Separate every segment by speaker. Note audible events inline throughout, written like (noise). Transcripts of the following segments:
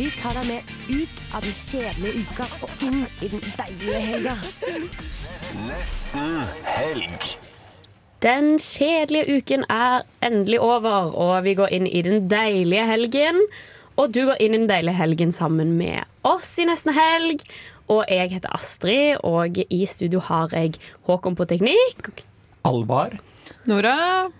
Speaker 1: Vi tar deg med ut av den kjedelige uka og inn i den deilige helga.
Speaker 2: Den kjedelige uken er endelig over, og vi går inn i den deilige helgen. Og du går inn i den deilige helgen sammen med oss i nesten helg. Og jeg heter Astrid, og i studio har jeg Håkon på teknikk.
Speaker 3: Alvar.
Speaker 4: Nora.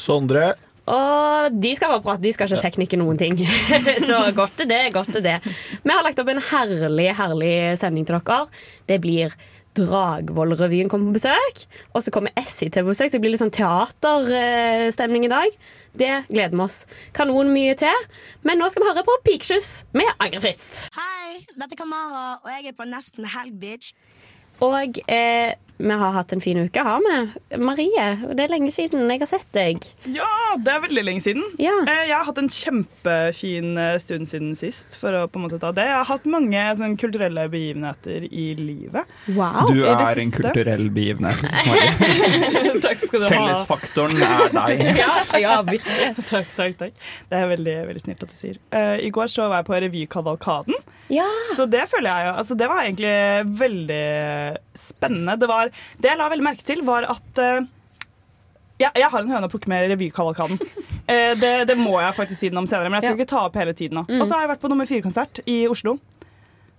Speaker 5: Sondre.
Speaker 2: Og de skal bare prate, de skal ikke teknikke noen ting. (laughs) Så godt er det, godt er det. Vi har lagt opp en herlig, herlig sending til dere. Det blir Dragvoll-revyen kommer på besøk, og så kommer Essie til besøk, så det blir litt sånn teaterstemning i dag. Det gleder vi oss kanon mye til. Men nå skal vi høre på Pikekyss med Angerfrist.
Speaker 1: Hei, dette er Kamara, og jeg er på nesten helg, bitch.
Speaker 2: Og eh, vi har hatt en fin uke, har vi? Marie, det er lenge siden jeg har sett deg.
Speaker 6: Ja, det er veldig lenge siden.
Speaker 2: Ja.
Speaker 6: Eh, Jeg har hatt en kjempefin eh, stund siden sist. for å på en måte ta det. Jeg har hatt mange sånn, kulturelle begivenheter i livet.
Speaker 2: Wow.
Speaker 3: Du
Speaker 6: i det
Speaker 3: er en
Speaker 6: siste.
Speaker 3: kulturell
Speaker 6: (laughs)
Speaker 3: begivenhet. Marie.
Speaker 6: takk skal du ha.
Speaker 3: Fellesfaktoren er
Speaker 6: (laughs)
Speaker 3: deg.
Speaker 2: Ja, ja, virkelig.
Speaker 6: Takk, takk, takk. Det er veldig, veldig snilt at du sier. Eh, I går så var jeg på revykavalkaden.
Speaker 2: ja.
Speaker 6: Så det føler jeg jo altså Det var egentlig veldig spennende. Det, var, det jeg la veldig merke til, var at eh, jeg, jeg har en høne å plukke med revykavalkaden. Eh, det, det må jeg faktisk si noe om senere, men jeg skal
Speaker 2: Ja.
Speaker 6: ikke ta opp hele tiden nå. Og så har jeg vært på nummer fire-konsert i Oslo.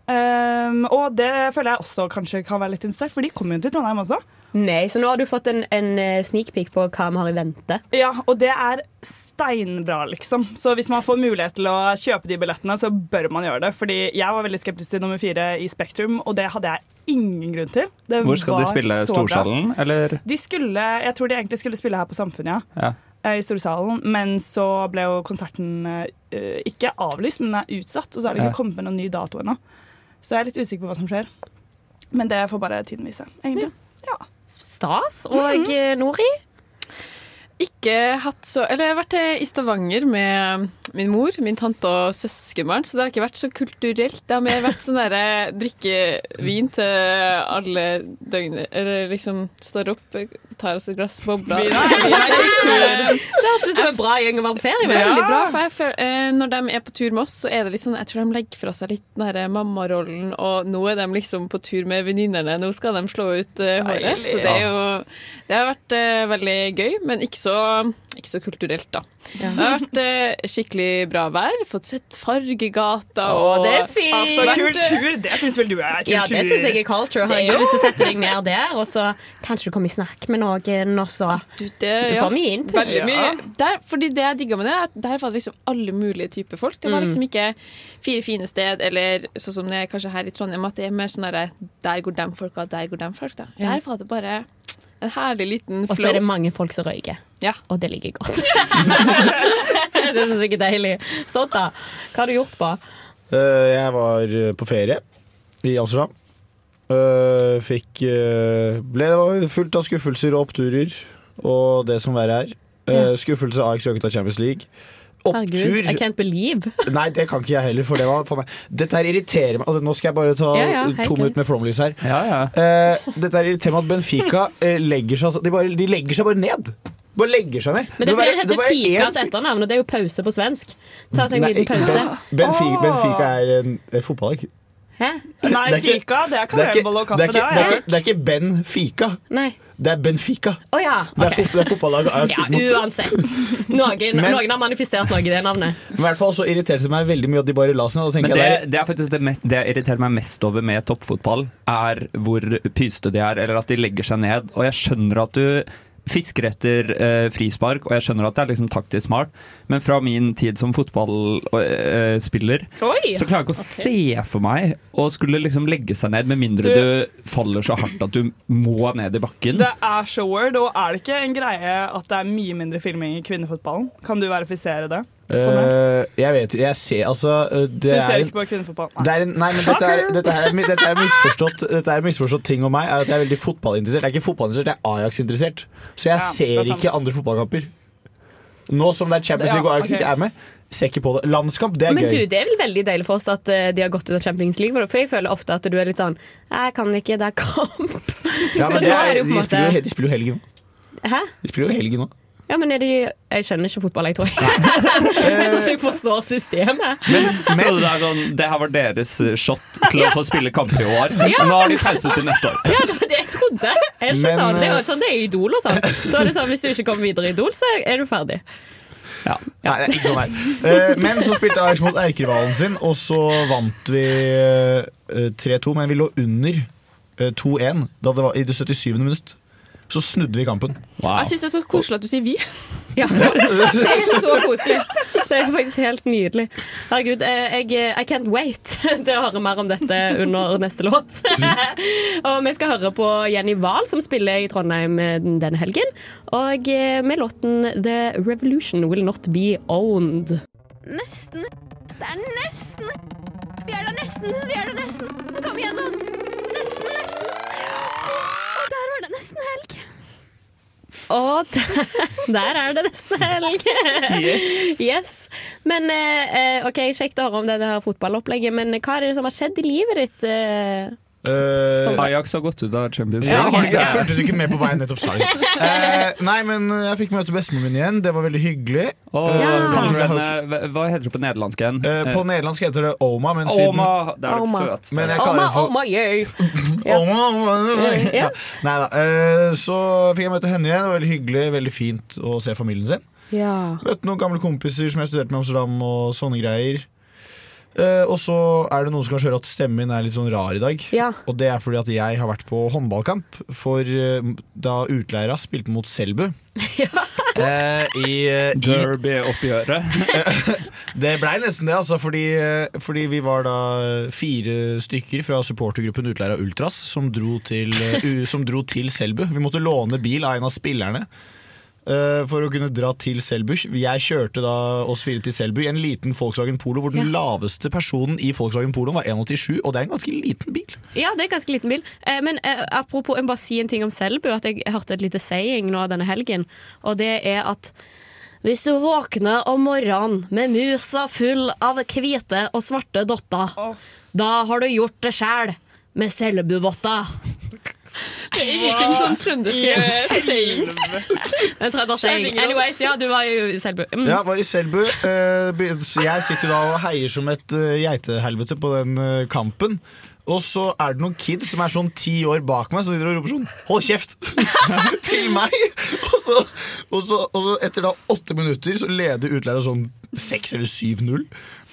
Speaker 6: Um, og det føler jeg også kanskje kan være litt interessert, for de kommer jo til Trondheim også.
Speaker 2: Nei, så nå har du fått en, en eh, sneak peek på hva vi har i vente.
Speaker 6: Ja, og det er steinbra, liksom. Så hvis man får mulighet til å kjøpe de billettene, så bør man gjøre det. Fordi jeg var veldig skeptisk til nummer fire i Spektrum, og det hadde jeg ingen grunn til. Det
Speaker 3: Hvor skal de
Speaker 6: var
Speaker 3: spille?
Speaker 6: så bra.
Speaker 3: Storsalen, eller?
Speaker 6: De skulle, Jeg tror de egentlig skulle spille her på Samfunnet, ja.
Speaker 3: Ja.
Speaker 6: eh, I Storsalen. Men så ble jo konserten eh, ikke avlyst, men den er utsatt. Og så har det
Speaker 3: Ja.
Speaker 6: ikke kommet med noen ny dato ennå. Så jeg er litt usikker på hva som skjer. Men det får bare tiden vise, egentlig. Ja.
Speaker 2: Stas og eh, Nori.
Speaker 4: Ikke hatt så Eller jeg har vært eh, i Stavanger med min mor, min tante og søskenbarn, så det har ikke vært så kulturelt. Det har mer vært sånn derre drikke vin til alle døgnet Eller liksom står opp, tar oss et glass bobler.
Speaker 2: Det hørtes ut som en bra gjeng å være på ferie med.
Speaker 4: Veldig bra. For jeg føler, eh, når de er på tur med oss, så er det litt sånn, jeg tror de legger fra seg litt den her eh, mammarollen. Og nå er de liksom på tur med venninnene, nå skal de slå ut eh, håret. Så det, er jo, det har vært eh, veldig gøy, men ikke så, ikke så kulturelt, da. Det har vært eh, skikkelig bra vær, fått sett Fargegata
Speaker 2: Å,
Speaker 4: og eh,
Speaker 2: det er fint!
Speaker 6: Altså, kultur, det syns vel du er kultur?
Speaker 2: Ja, det syns jeg er culture. Har jeg
Speaker 4: Det er jo-
Speaker 2: lyst til å sette deg ned der, og så kanskje du kommer i snakk med noen, og så
Speaker 4: Du, det-
Speaker 2: Du
Speaker 4: ja.
Speaker 2: får mye input.
Speaker 4: Veldig mye. Der, fordi det jeg digga med det, er at der var det liksom alle mulige typer folk. Det var
Speaker 2: Mm.
Speaker 4: liksom ikke fire fine sted, eller sånn som det er kanskje her i Trondheim, at det er mer sånn derre der går dem folka, der går dem folk, da. Der var det bare en herlig liten
Speaker 2: Og så er det
Speaker 4: flow.
Speaker 2: mange folk som røyker.
Speaker 4: Ja.
Speaker 2: Og det liker jeg godt. (laughs) det syns jeg er deilig. Sånn, da. Hva har du gjort på?
Speaker 5: Eh, jeg var eh, på ferie i Amsterdam. Eh, fikk eh, Ble det var fullt av skuffelser og oppturer og det som verre er. Eh, skuffelse Ajax røket av Champions League.
Speaker 2: Herregud, I (laughs)
Speaker 5: Opptur
Speaker 2: can't believe.
Speaker 5: Nei, det kan ikke jeg heller, for det var for meg. Dette her irriterer meg. Altså, Nå skal jeg bare ta
Speaker 2: Ja, ja, helt
Speaker 5: to
Speaker 2: greit.
Speaker 5: minutter med Flomlys her.
Speaker 3: Ja, ja.
Speaker 5: Eh, dette her irriterer meg at Benfica eh, legger seg altså, de, bare, de legger seg bare ned. Bare legger seg ned.
Speaker 2: Men det er
Speaker 5: var-
Speaker 2: fordi det heter
Speaker 5: var en-
Speaker 2: firkant etternavn, og det er jo pause på svensk. Ta seg en
Speaker 5: Nei,
Speaker 2: liten pause.
Speaker 5: (laughs) Ben- Benfica, Benfica er en, et fotballag.
Speaker 2: Hæ?
Speaker 6: Nei,
Speaker 5: Det er ikke-
Speaker 6: fika, det er
Speaker 5: Det er ikke,
Speaker 6: kanelbolle og
Speaker 5: det
Speaker 6: kaffe.
Speaker 5: er
Speaker 6: Det
Speaker 5: ikke,
Speaker 6: har
Speaker 5: det er
Speaker 6: jeg
Speaker 5: ikke, det er ikke Benfica.
Speaker 2: Nei.
Speaker 5: Det er Benfica.
Speaker 2: Å ja.
Speaker 5: Det er, fot, det er fotballaget Ajax
Speaker 2: Ja,
Speaker 5: spilte mot.
Speaker 2: uansett. Noen,
Speaker 5: Men-
Speaker 2: noen har manifestert noe i det navnet.
Speaker 5: Men i hvert fall så irriterte det meg veldig mye at de bare la seg ned. Da
Speaker 3: Men
Speaker 5: tenker
Speaker 3: det,
Speaker 5: jeg der,
Speaker 3: det er faktisk det, mest, det jeg irriterer meg mest over med toppfotball, er hvor pyste de er, eller at de legger seg ned. Og jeg skjønner at du fisker etter eh, frispark, og jeg skjønner at det er liksom taktisk smart, men fra min tid som fotballspiller
Speaker 2: Oi!
Speaker 3: så klarer jeg ikke å se for meg å skulle liksom legge seg ned, med mindre du faller så hardt at du må ned i bakken.
Speaker 6: Det er så word, og er det ikke en greie at det er mye mindre filming i kvinnefotballen? Kan du verifisere det?
Speaker 5: Eh, jeg vet jeg ser, altså, eh, det
Speaker 6: du ser
Speaker 5: er en-
Speaker 6: ikke på kvinnefotball.
Speaker 5: det er en, nei, men dette er, dette, er, dette, er misforstått, dette er misforstått ting om meg. Er at Jeg er veldig fotballinteressert. Jeg er ikke fotballinteressert, jeg er Ajax-interessert. Så jeg
Speaker 6: Ja, det er
Speaker 5: ser
Speaker 6: sant.
Speaker 5: ikke andre fotballkamper. Nå som det er Champions
Speaker 2: Ja,
Speaker 5: League og Ajax
Speaker 2: ok.
Speaker 5: ikke er med, ser ikke på det. Landskamp, det er
Speaker 2: Men du,
Speaker 5: gøy.
Speaker 2: det er vel veldig deilig for oss at eh, de har gått ut av Champions League. for det- For jeg føler ofte at du er litt sånn Jeg kan ikke, det er kamp.
Speaker 5: Ja,
Speaker 2: så
Speaker 5: men det
Speaker 2: nå er
Speaker 5: er,
Speaker 2: det jo på en
Speaker 5: de, spiller, jo-
Speaker 2: måte
Speaker 5: de spiller jo helgen nå.
Speaker 2: (laughs) Hæ?
Speaker 5: De spiller jo helgen nå.
Speaker 2: Ja, men er de Jeg skjønner ikke fotball, jeg tror jeg. (laughs) jeg tror ikke
Speaker 5: Eh.
Speaker 2: jeg forstår systemet.
Speaker 3: Så det, er sånn, det her var deres eh, shot til å få spille kamper i år.
Speaker 2: Ja.
Speaker 3: Nå har de pause til neste år.
Speaker 2: Ja, det var det jeg trodde. Er det ikke
Speaker 3: Men,
Speaker 2: sånn? Det er jo
Speaker 3: eh,
Speaker 2: sånn det er i Idol og sånn. Da er det sånn, Hvis du ikke kommer videre i Idol, så er du ferdig.
Speaker 5: Nei, det er ikke sånn her. Eh, men så spilte Ajax mot erkerivalen sin, og så vant vi eh, 3-2, men vi lå under eh, 2-1 da det var i det 77. minutt. Så snudde vi kampen. Altså,
Speaker 4: Jeg syns det er så koselig at du sier vi. (laughs)
Speaker 2: Ja. (laughs) Det er så koselig. Det er faktisk helt nydelig. Herregud, eh, jeg, I can't wait (laughs) til å høre mer om dette under neste låt. (laughs) Og vi skal høre på Jenny Wahl, som spiller i Trondheim eh, denne helgen. Og eh, med låten 'The Revolution Will Not Be Owned'.
Speaker 7: Nesten. Det er nesten. Vi er der nesten. Vi er der nesten. Kom igjennom. Nesten, nesten. Og der var det nesten helg.
Speaker 2: Og (laughs) der, der er det neste helg.
Speaker 7: Yes.
Speaker 2: Yes. Men eh, eh, OK, kjekt å høre om det her fotballopplegget, men hva er det som har skjedd i livet ditt? eh?
Speaker 5: Eh,
Speaker 3: Ajax har gått ut av Champions
Speaker 5: Ja, har du
Speaker 3: League.
Speaker 5: ikke, jeg fulgte du ikke med på hva jeg nettopp sa? Eh, nei, men jeg fikk møte bestemoren min igjen. Det var veldig hyggelig.
Speaker 3: Og
Speaker 5: Eh,
Speaker 3: kaller du
Speaker 5: jeg har
Speaker 3: henne, hva- hva heter det på nederlandsk igjen? Eh,
Speaker 5: ikke- eh, på nederlandsk heter det Oma, men siden
Speaker 3: Oma, det er det
Speaker 5: Oma.
Speaker 3: søteste.
Speaker 5: Men jeg kaller det for-
Speaker 2: Oma, yay.
Speaker 5: Oma, Oma, Oma.
Speaker 2: Ja.
Speaker 5: Ja. Nei da. eh, så fikk jeg møte henne igjen. Det var veldig hyggelig, veldig fint å se familien sin.
Speaker 2: Ja.
Speaker 5: Møtte noen gamle kompiser som jeg studerte med i Amsterdam og sånne greier. Eh, og så er det noen som kan høre at stemmen min er litt sånn rar i dag. Og det er fordi at jeg har vært på håndballkamp for eh, da utleira spilte mot Selbu. Eh, i, eh, i- det blei nesten det, altså. Fordi, eh, fordi vi var da fire stykker fra supportergruppen Utleira Ultras som dro, til, eh, u- som dro til Selbu. Vi måtte låne bil av en av spillerne. eh, For å kunne dra til Selbu. Jeg kjørte da oss fire til Selbu i en liten Volkswagen Polo, hvor den laveste personen i Volkswagen Poloen var 1,87, og det er en ganske liten bil.
Speaker 2: Ja, det er ganske liten bil. Eh, men eh, apropos, jeg må bare si en ting om Selbu. At jeg hørte et lite saying nå denne helgen, og det er at hvis du våkner om morgenen med musa full av hvite og svarte dotter, da har du gjort det sjæl med Selbuvotter.
Speaker 4: Det er ingenting som trønderske sayings.
Speaker 2: En trøndersaying. Anyways, ja, du var jo i Selbu. Mm.
Speaker 5: Ja, var i Selbu. eh, be- så Jeg sitter da og heier som et eh, geitehelvete på den eh, kampen. Og så er det noen kids som er sånn ti år bak meg, som sitter og roper sånn 'hold kjeft' (laughs) til meg! Og så, og så, og så etter da åtte minutter så leder utleieren sånn 6 eller 7-0.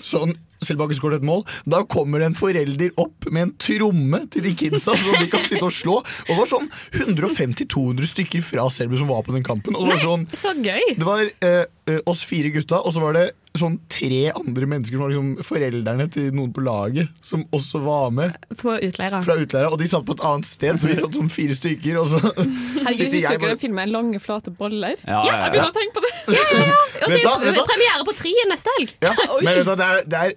Speaker 5: Sånn Selbakk skåret et mål. Da kommer det en forelder opp med en tromme til de kidsa, så de kan sitte og slå. Og det var sånn 150-200 stykker fra Selbu som var på den kampen. Og det var sånn
Speaker 2: Så gøy!
Speaker 5: det var eh, eh, oss fire gutta, og så var det sånn tre andre mennesker som var liksom foreldrene til noen på laget, som også var med
Speaker 2: På utleira.
Speaker 5: fra utleira. Og de satt på et annet sted, så vi satt sånn fire stykker, og så
Speaker 4: Herregud,
Speaker 5: sitter
Speaker 4: husker
Speaker 5: jeg
Speaker 4: dere
Speaker 5: bare
Speaker 4: den filmen 'Lange, flate baller'?
Speaker 5: Ja, ja,
Speaker 4: Jeg
Speaker 5: ja.
Speaker 4: begynner å tenke på det.
Speaker 2: Og det
Speaker 5: Vet du hva, vet
Speaker 2: er
Speaker 5: du hva?
Speaker 2: premiere på Trien neste helg.
Speaker 5: ja, Men vet du hva, det er, det er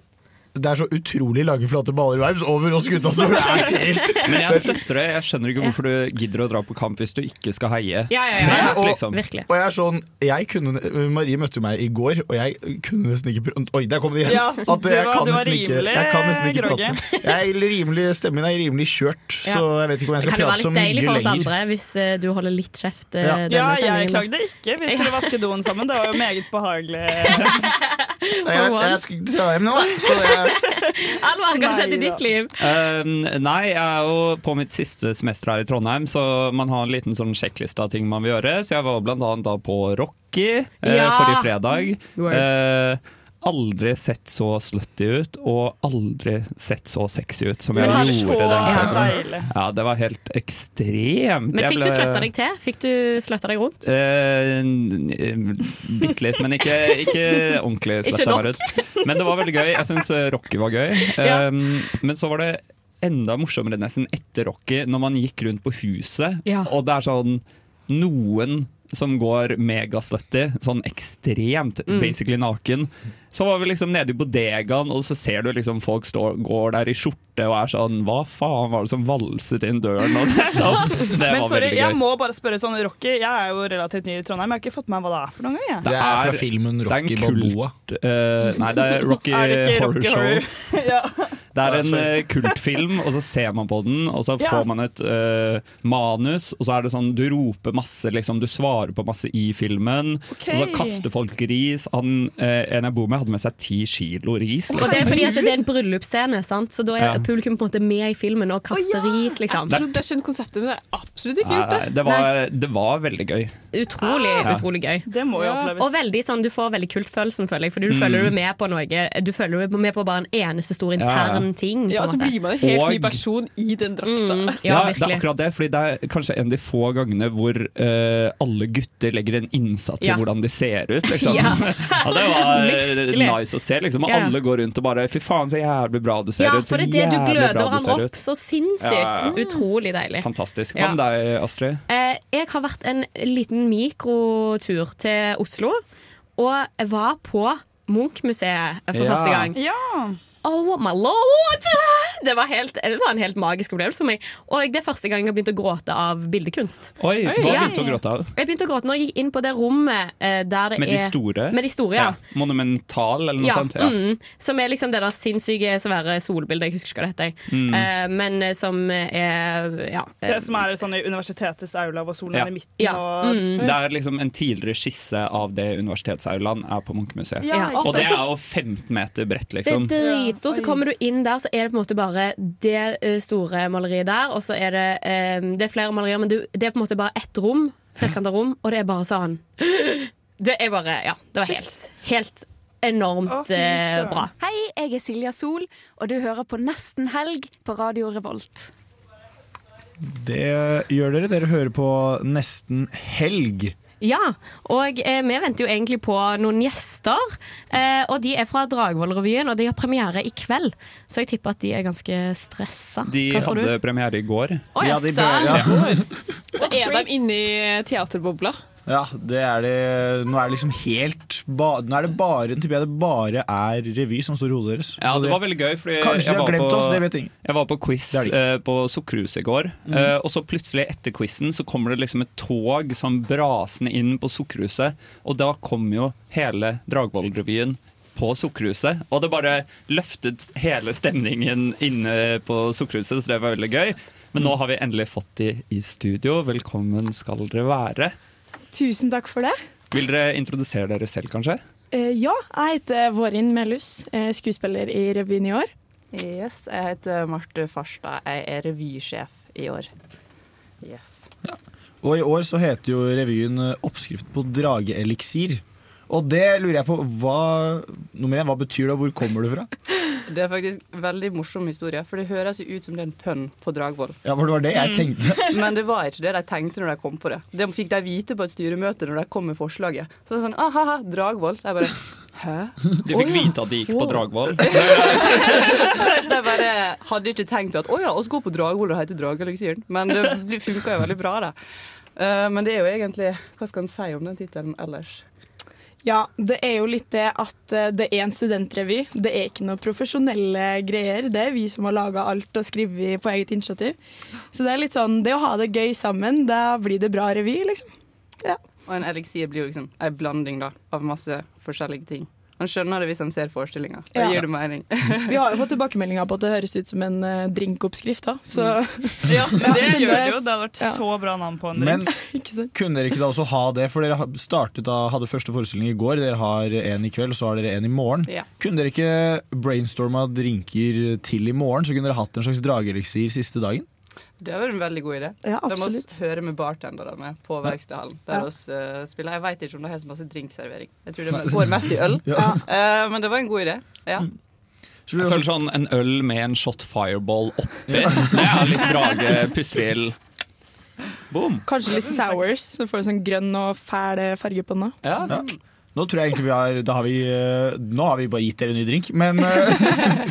Speaker 5: det er så utrolig lange, flate ballervibes over oss gutta. Så det er helt
Speaker 3: Men jeg støtter det. Jeg skjønner ikke hvorfor du gidder å dra på kamp hvis du ikke skal heie.
Speaker 5: Ja, ja, ja.
Speaker 3: Helt,
Speaker 5: Og-
Speaker 3: liksom.
Speaker 5: Og jeg er sånn jeg kunne, Marie møtte meg i går, og jeg kunne nesten ikke pr- Oi, der kom det igjen!
Speaker 6: Ja,
Speaker 5: at
Speaker 6: du
Speaker 5: jeg,
Speaker 6: var-
Speaker 5: kan
Speaker 6: du var
Speaker 5: nesten ikke,
Speaker 6: rimelig
Speaker 5: jeg kan nesten ikke
Speaker 6: groggy.
Speaker 5: prate. Jeg er rimelig, stemmen min er rimelig kjørt, så jeg vet ikke om jeg
Speaker 2: Det
Speaker 5: skal
Speaker 2: kan jo være
Speaker 5: prate så
Speaker 2: litt
Speaker 5: mye
Speaker 2: deilig for oss
Speaker 5: lenger.
Speaker 2: andre hvis eh, du holder litt kjeft eh,
Speaker 5: Ja.
Speaker 2: denne
Speaker 6: Ja, jeg
Speaker 2: sendingen.
Speaker 6: klagde ikke. Vi skulle vaske doen sammen. Det var jo meget
Speaker 3: (laughs)
Speaker 6: behagelig.
Speaker 5: Jeg, jeg skal dra hjem nå, så
Speaker 3: (laughs)
Speaker 5: jeg,
Speaker 2: Alvar, hva har skjedd i
Speaker 6: Nei,
Speaker 2: ditt liv?
Speaker 3: Um, nei, jeg er jo på mitt siste semester her i Trondheim, så man har en liten sånn sjekkliste av ting man vil gjøre. Så jeg var blant annet da på Rocky eh,
Speaker 8: Ja.
Speaker 3: forrige
Speaker 2: Mm,
Speaker 3: fredag.
Speaker 8: Word.
Speaker 3: Eh, aldri sett så slutty ut, og aldri sett så sexy ut som
Speaker 2: Det
Speaker 3: jeg
Speaker 2: var så
Speaker 3: gjorde den
Speaker 2: deilig.
Speaker 3: kvelden. Ja, det var helt ekstremt.
Speaker 2: Men
Speaker 3: Jeg
Speaker 2: fikk du
Speaker 3: ble-
Speaker 2: sløtta deg til? Fikk du sløtta deg rundt?
Speaker 3: Eh, n- eh, Bitte litt, men ikke, ikke ordentlig
Speaker 2: Ikke
Speaker 3: svetta
Speaker 2: nok.
Speaker 3: meg ut. Men det var veldig gøy. Jeg syns Rocky var gøy.
Speaker 2: Ja.
Speaker 3: Um, men så var det enda morsommere nesten etter Rocky, når man gikk rundt på huset, og det er sånn noen som går megaslutty, sånn ekstremt,
Speaker 9: Mm.
Speaker 3: basically naken. Så var vi liksom nede i bodegaen, og så ser du liksom folk står, går der i skjorte og er sånn Hva faen var det som valset inn døren nå nettopp? Det
Speaker 6: Men
Speaker 3: var
Speaker 6: sorry,
Speaker 3: veldig
Speaker 6: jeg
Speaker 3: gøy.
Speaker 6: må bare spørre sånn, Rocky, jeg er jo relativt ny i Trondheim, jeg har ikke fått med meg hva det er for noen gang. Jeg.
Speaker 3: Det er fra filmen Rocky Balboa. nei, det er
Speaker 6: (laughs)
Speaker 3: Rocky
Speaker 6: Er det ikke
Speaker 3: Horror
Speaker 6: Rocky
Speaker 3: Show.
Speaker 6: Horror? (laughs) ja.
Speaker 3: Det er en
Speaker 6: Ja,
Speaker 3: eh, kultfilm, og så ser man på den, og så
Speaker 6: Ja.
Speaker 3: får man et eh, manus, og så er det sånn du roper masse, liksom, du svarer på masse i filmen, og
Speaker 2: Ok.
Speaker 3: så kaster folk ris. Han eh, en jeg bor med, hadde med seg ti kilo ris.
Speaker 2: (laughs) Og det er fordi at det er en bryllupsscene, sant? så da er
Speaker 3: Ja.
Speaker 2: publikum på en måte med i filmen og kaster ris, liksom.
Speaker 3: Jeg trodde
Speaker 2: jeg skjønte konseptet, men det er absolutt
Speaker 3: Nei, nei, det, var, det var veldig gøy.
Speaker 2: Utrolig,
Speaker 3: Ah.
Speaker 2: utrolig gøy.
Speaker 6: Det må jo oppleves.
Speaker 2: Og veldig sånn, du får veldig kultfølelsen, føler jeg, fordi du
Speaker 3: Mm.
Speaker 2: føler du er med på noe. Du føler du er med på bare en eneste stor intern
Speaker 3: Ja.
Speaker 2: ting.
Speaker 4: Ja, så blir man en helt ny
Speaker 3: Og-
Speaker 4: person i den drakta.
Speaker 2: Mm.
Speaker 3: Ja, det er akkurat det, fordi det er kanskje en av de få gangene hvor eh, alle gutter legger en innsats i
Speaker 4: Ja.
Speaker 3: hvordan de ser
Speaker 6: (laughs)
Speaker 3: ut. Liksom. ja.
Speaker 4: Ja.
Speaker 3: (laughs) det var eh,
Speaker 2: Virkelig.
Speaker 3: nice å se. Liksom. Og
Speaker 2: Ja.
Speaker 3: alle går rundt og bare 'fy faen, så jævlig bra du ser
Speaker 2: Ja,
Speaker 3: ut'. Så
Speaker 2: for det er det du
Speaker 3: jævlig
Speaker 2: gløder
Speaker 3: bra du ser ut».
Speaker 2: hverandre opp. Så sinnssykt.
Speaker 3: Ja, ja, ja.
Speaker 2: Utrolig deilig.
Speaker 3: Fantastisk.
Speaker 2: Ja.
Speaker 3: Hva med deg, Astrid?
Speaker 2: Eh, jeg har vært en liten mikrotur til Oslo, og jeg var på Munch-museet for
Speaker 4: Ja.
Speaker 2: første gang. Oh my lord! (laughs) Det var, helt, det var en helt magisk opplevelse for meg. Og det er første gang jeg har begynt å gråte av bildekunst.
Speaker 3: Oi, hva
Speaker 2: Ja.
Speaker 3: begynte du å gråte av?
Speaker 2: Og Jeg begynte å gråte når jeg gikk inn på det rommet eh, der det
Speaker 3: Med de
Speaker 2: er
Speaker 3: store?
Speaker 2: Med de store, ja.
Speaker 3: Monumental, eller noe
Speaker 2: Ja,
Speaker 3: sånt? Ja.
Speaker 2: Mm, som er liksom det der sinnssyke svære solbildet. Jeg husker ikke hva det heter.
Speaker 3: Mm.
Speaker 2: Eh, men eh, som er ja, eh,
Speaker 6: Det som er sånn i universitetets aula hvor solen
Speaker 3: Ja.
Speaker 6: er i midten.
Speaker 2: Ja.
Speaker 6: Og,
Speaker 2: Mm.
Speaker 3: Det er liksom en tidligere skisse av det universitetsaulaen er på Munchmuseet.
Speaker 2: Ja,
Speaker 3: og det
Speaker 2: ikke
Speaker 3: er
Speaker 2: sant?
Speaker 3: jo 15 meter bredt,
Speaker 2: Det er
Speaker 3: liksom.
Speaker 2: dritstort. Så kommer du inn der, så er det på en måte bare det eh, store maleriet der. Og så er det eh, Det er flere malerier, men du, det er på en måte bare ett rom. Firkanta rom, og det er bare sånn (laughs) Det er bare Ja, det var helt, helt enormt eh, bra.
Speaker 10: Hei, jeg er Silja Sol, og du hører på Nesten helg på Radio Revolt.
Speaker 11: Det gjør dere. Dere hører på Nesten helg.
Speaker 2: Ja, og eh, vi venter jo egentlig på noen gjester. Eh, og de er fra Dragvoll-revyen, og de har premiere i kveld. Så jeg tipper at de er ganske stressa.
Speaker 3: De
Speaker 2: Hva tror
Speaker 3: hadde
Speaker 2: du?
Speaker 3: premiere i går.
Speaker 2: Å, ja, Ja, de sant.
Speaker 11: ja.
Speaker 4: Og er de inni
Speaker 6: eh,
Speaker 4: teaterbobla?
Speaker 11: Ja, det er det Nå er det liksom helt ba, Nå er det bare Nå tipper jeg det bare er revy som står i hodet deres.
Speaker 3: Ja,
Speaker 11: Så
Speaker 3: det var veldig gøy. Fordi
Speaker 11: Kanskje de
Speaker 3: jeg
Speaker 11: har
Speaker 3: var
Speaker 11: glemt
Speaker 3: på-
Speaker 11: oss, det vet ingen.
Speaker 3: Jeg var på quiz
Speaker 11: Det er det
Speaker 3: eh, på Sukkerhuset i går,
Speaker 11: Mhm.
Speaker 3: eh, og så plutselig etter quizen så kommer det liksom et tog som brasende inn på Sukkerhuset, og da kom jo hele Dragvoll-revyen på Sukkerhuset, og det bare løftet hele stemningen inne på Sukkerhuset, så det var veldig gøy. Men nå har vi endelig fått de i studio. Velkommen skal dere være.
Speaker 12: Tusen takk for det.
Speaker 3: Vil dere introdusere dere selv, kanskje?
Speaker 12: Eh, ja, jeg heter Vårin Melhus, eh, skuespiller i revyen i år.
Speaker 13: Yes, jeg heter Marte Farstad. Jeg er revysjef i år. Yes.
Speaker 11: Og i år så heter jo revyen eh, Oppskrift på drageeliksir. Og det lurer jeg på. Hva, nummer én, hva betyr det, og hvor kommer det fra?
Speaker 13: Det er faktisk veldig morsom historie, for det høres jo ut som det er en pønn på Dragvoll.
Speaker 11: Ja, for det var det jeg tenkte.
Speaker 13: Men det var ikke det de tenkte når de kom på det. Det fikk de vite på et styremøte når de kom med forslaget. Så det var sånn aha, Dragvoll. De bare hæ?
Speaker 3: De fikk vite at de gikk på (laughs) Dragvoll.
Speaker 13: De bare hadde ikke tenkt at å ja, oss går på Dragvoll og heter Drageliksiren. Men det funka jo veldig bra, da. Eh, Men det er jo egentlig Hva skal en si om den tittelen ellers?
Speaker 12: Ja, det er jo litt det at eh, det er en studentrevy. Det er ikke noe profesjonelle greier. Det er vi som har laga alt og skrevet på eget initiativ. Så det er litt sånn det å ha det gøy sammen, da blir det bra revy, liksom.
Speaker 13: Og en eliksir blir jo liksom en blanding da, av masse forskjellige ting. Han skjønner det hvis han ser forestillinga. Da
Speaker 12: Ja.
Speaker 13: gir det mening.
Speaker 12: Vi har jo fått tilbakemeldinger på at det høres ut som en eh, drinkoppskrift, da. Så
Speaker 6: ja, det gjør det
Speaker 12: men det-
Speaker 6: jo. Det hadde vært så bra navn på en
Speaker 11: Men
Speaker 6: drink.
Speaker 11: kunne dere ikke da også ha det? For dere har startet da, hadde første forestilling i går, dere har en i kveld, så har dere en i morgen.
Speaker 13: Ja.
Speaker 11: Kunne dere ikke brainstorma drinker til i morgen, så kunne dere hatt en slags drageeliksir siste dagen?
Speaker 13: Det er vel en veldig god idé.
Speaker 12: Ja,
Speaker 13: Da må vi
Speaker 12: absolutt.
Speaker 13: høre med bartenderne på verkstedhallen. Der
Speaker 12: Ja.
Speaker 13: oss, eh, spiller. Jeg veit ikke om de har så masse drinkservering. Jeg tror det går mest i øl.
Speaker 3: Ja.
Speaker 13: Eh, men det var en god idé. Ja.
Speaker 3: Jeg
Speaker 5: Altså-
Speaker 3: føler sånn en øl med en shot fireball oppi. Det er litt drage, pussel. Boom.
Speaker 12: kanskje litt sours, så får du sånn grønn og fæl eh, farge på den.
Speaker 3: da.
Speaker 11: Ja. Nå tror jeg egentlig vi har, da har vi eh, Nå har vi bare (laughs) gitt dere en ny drink, men eh,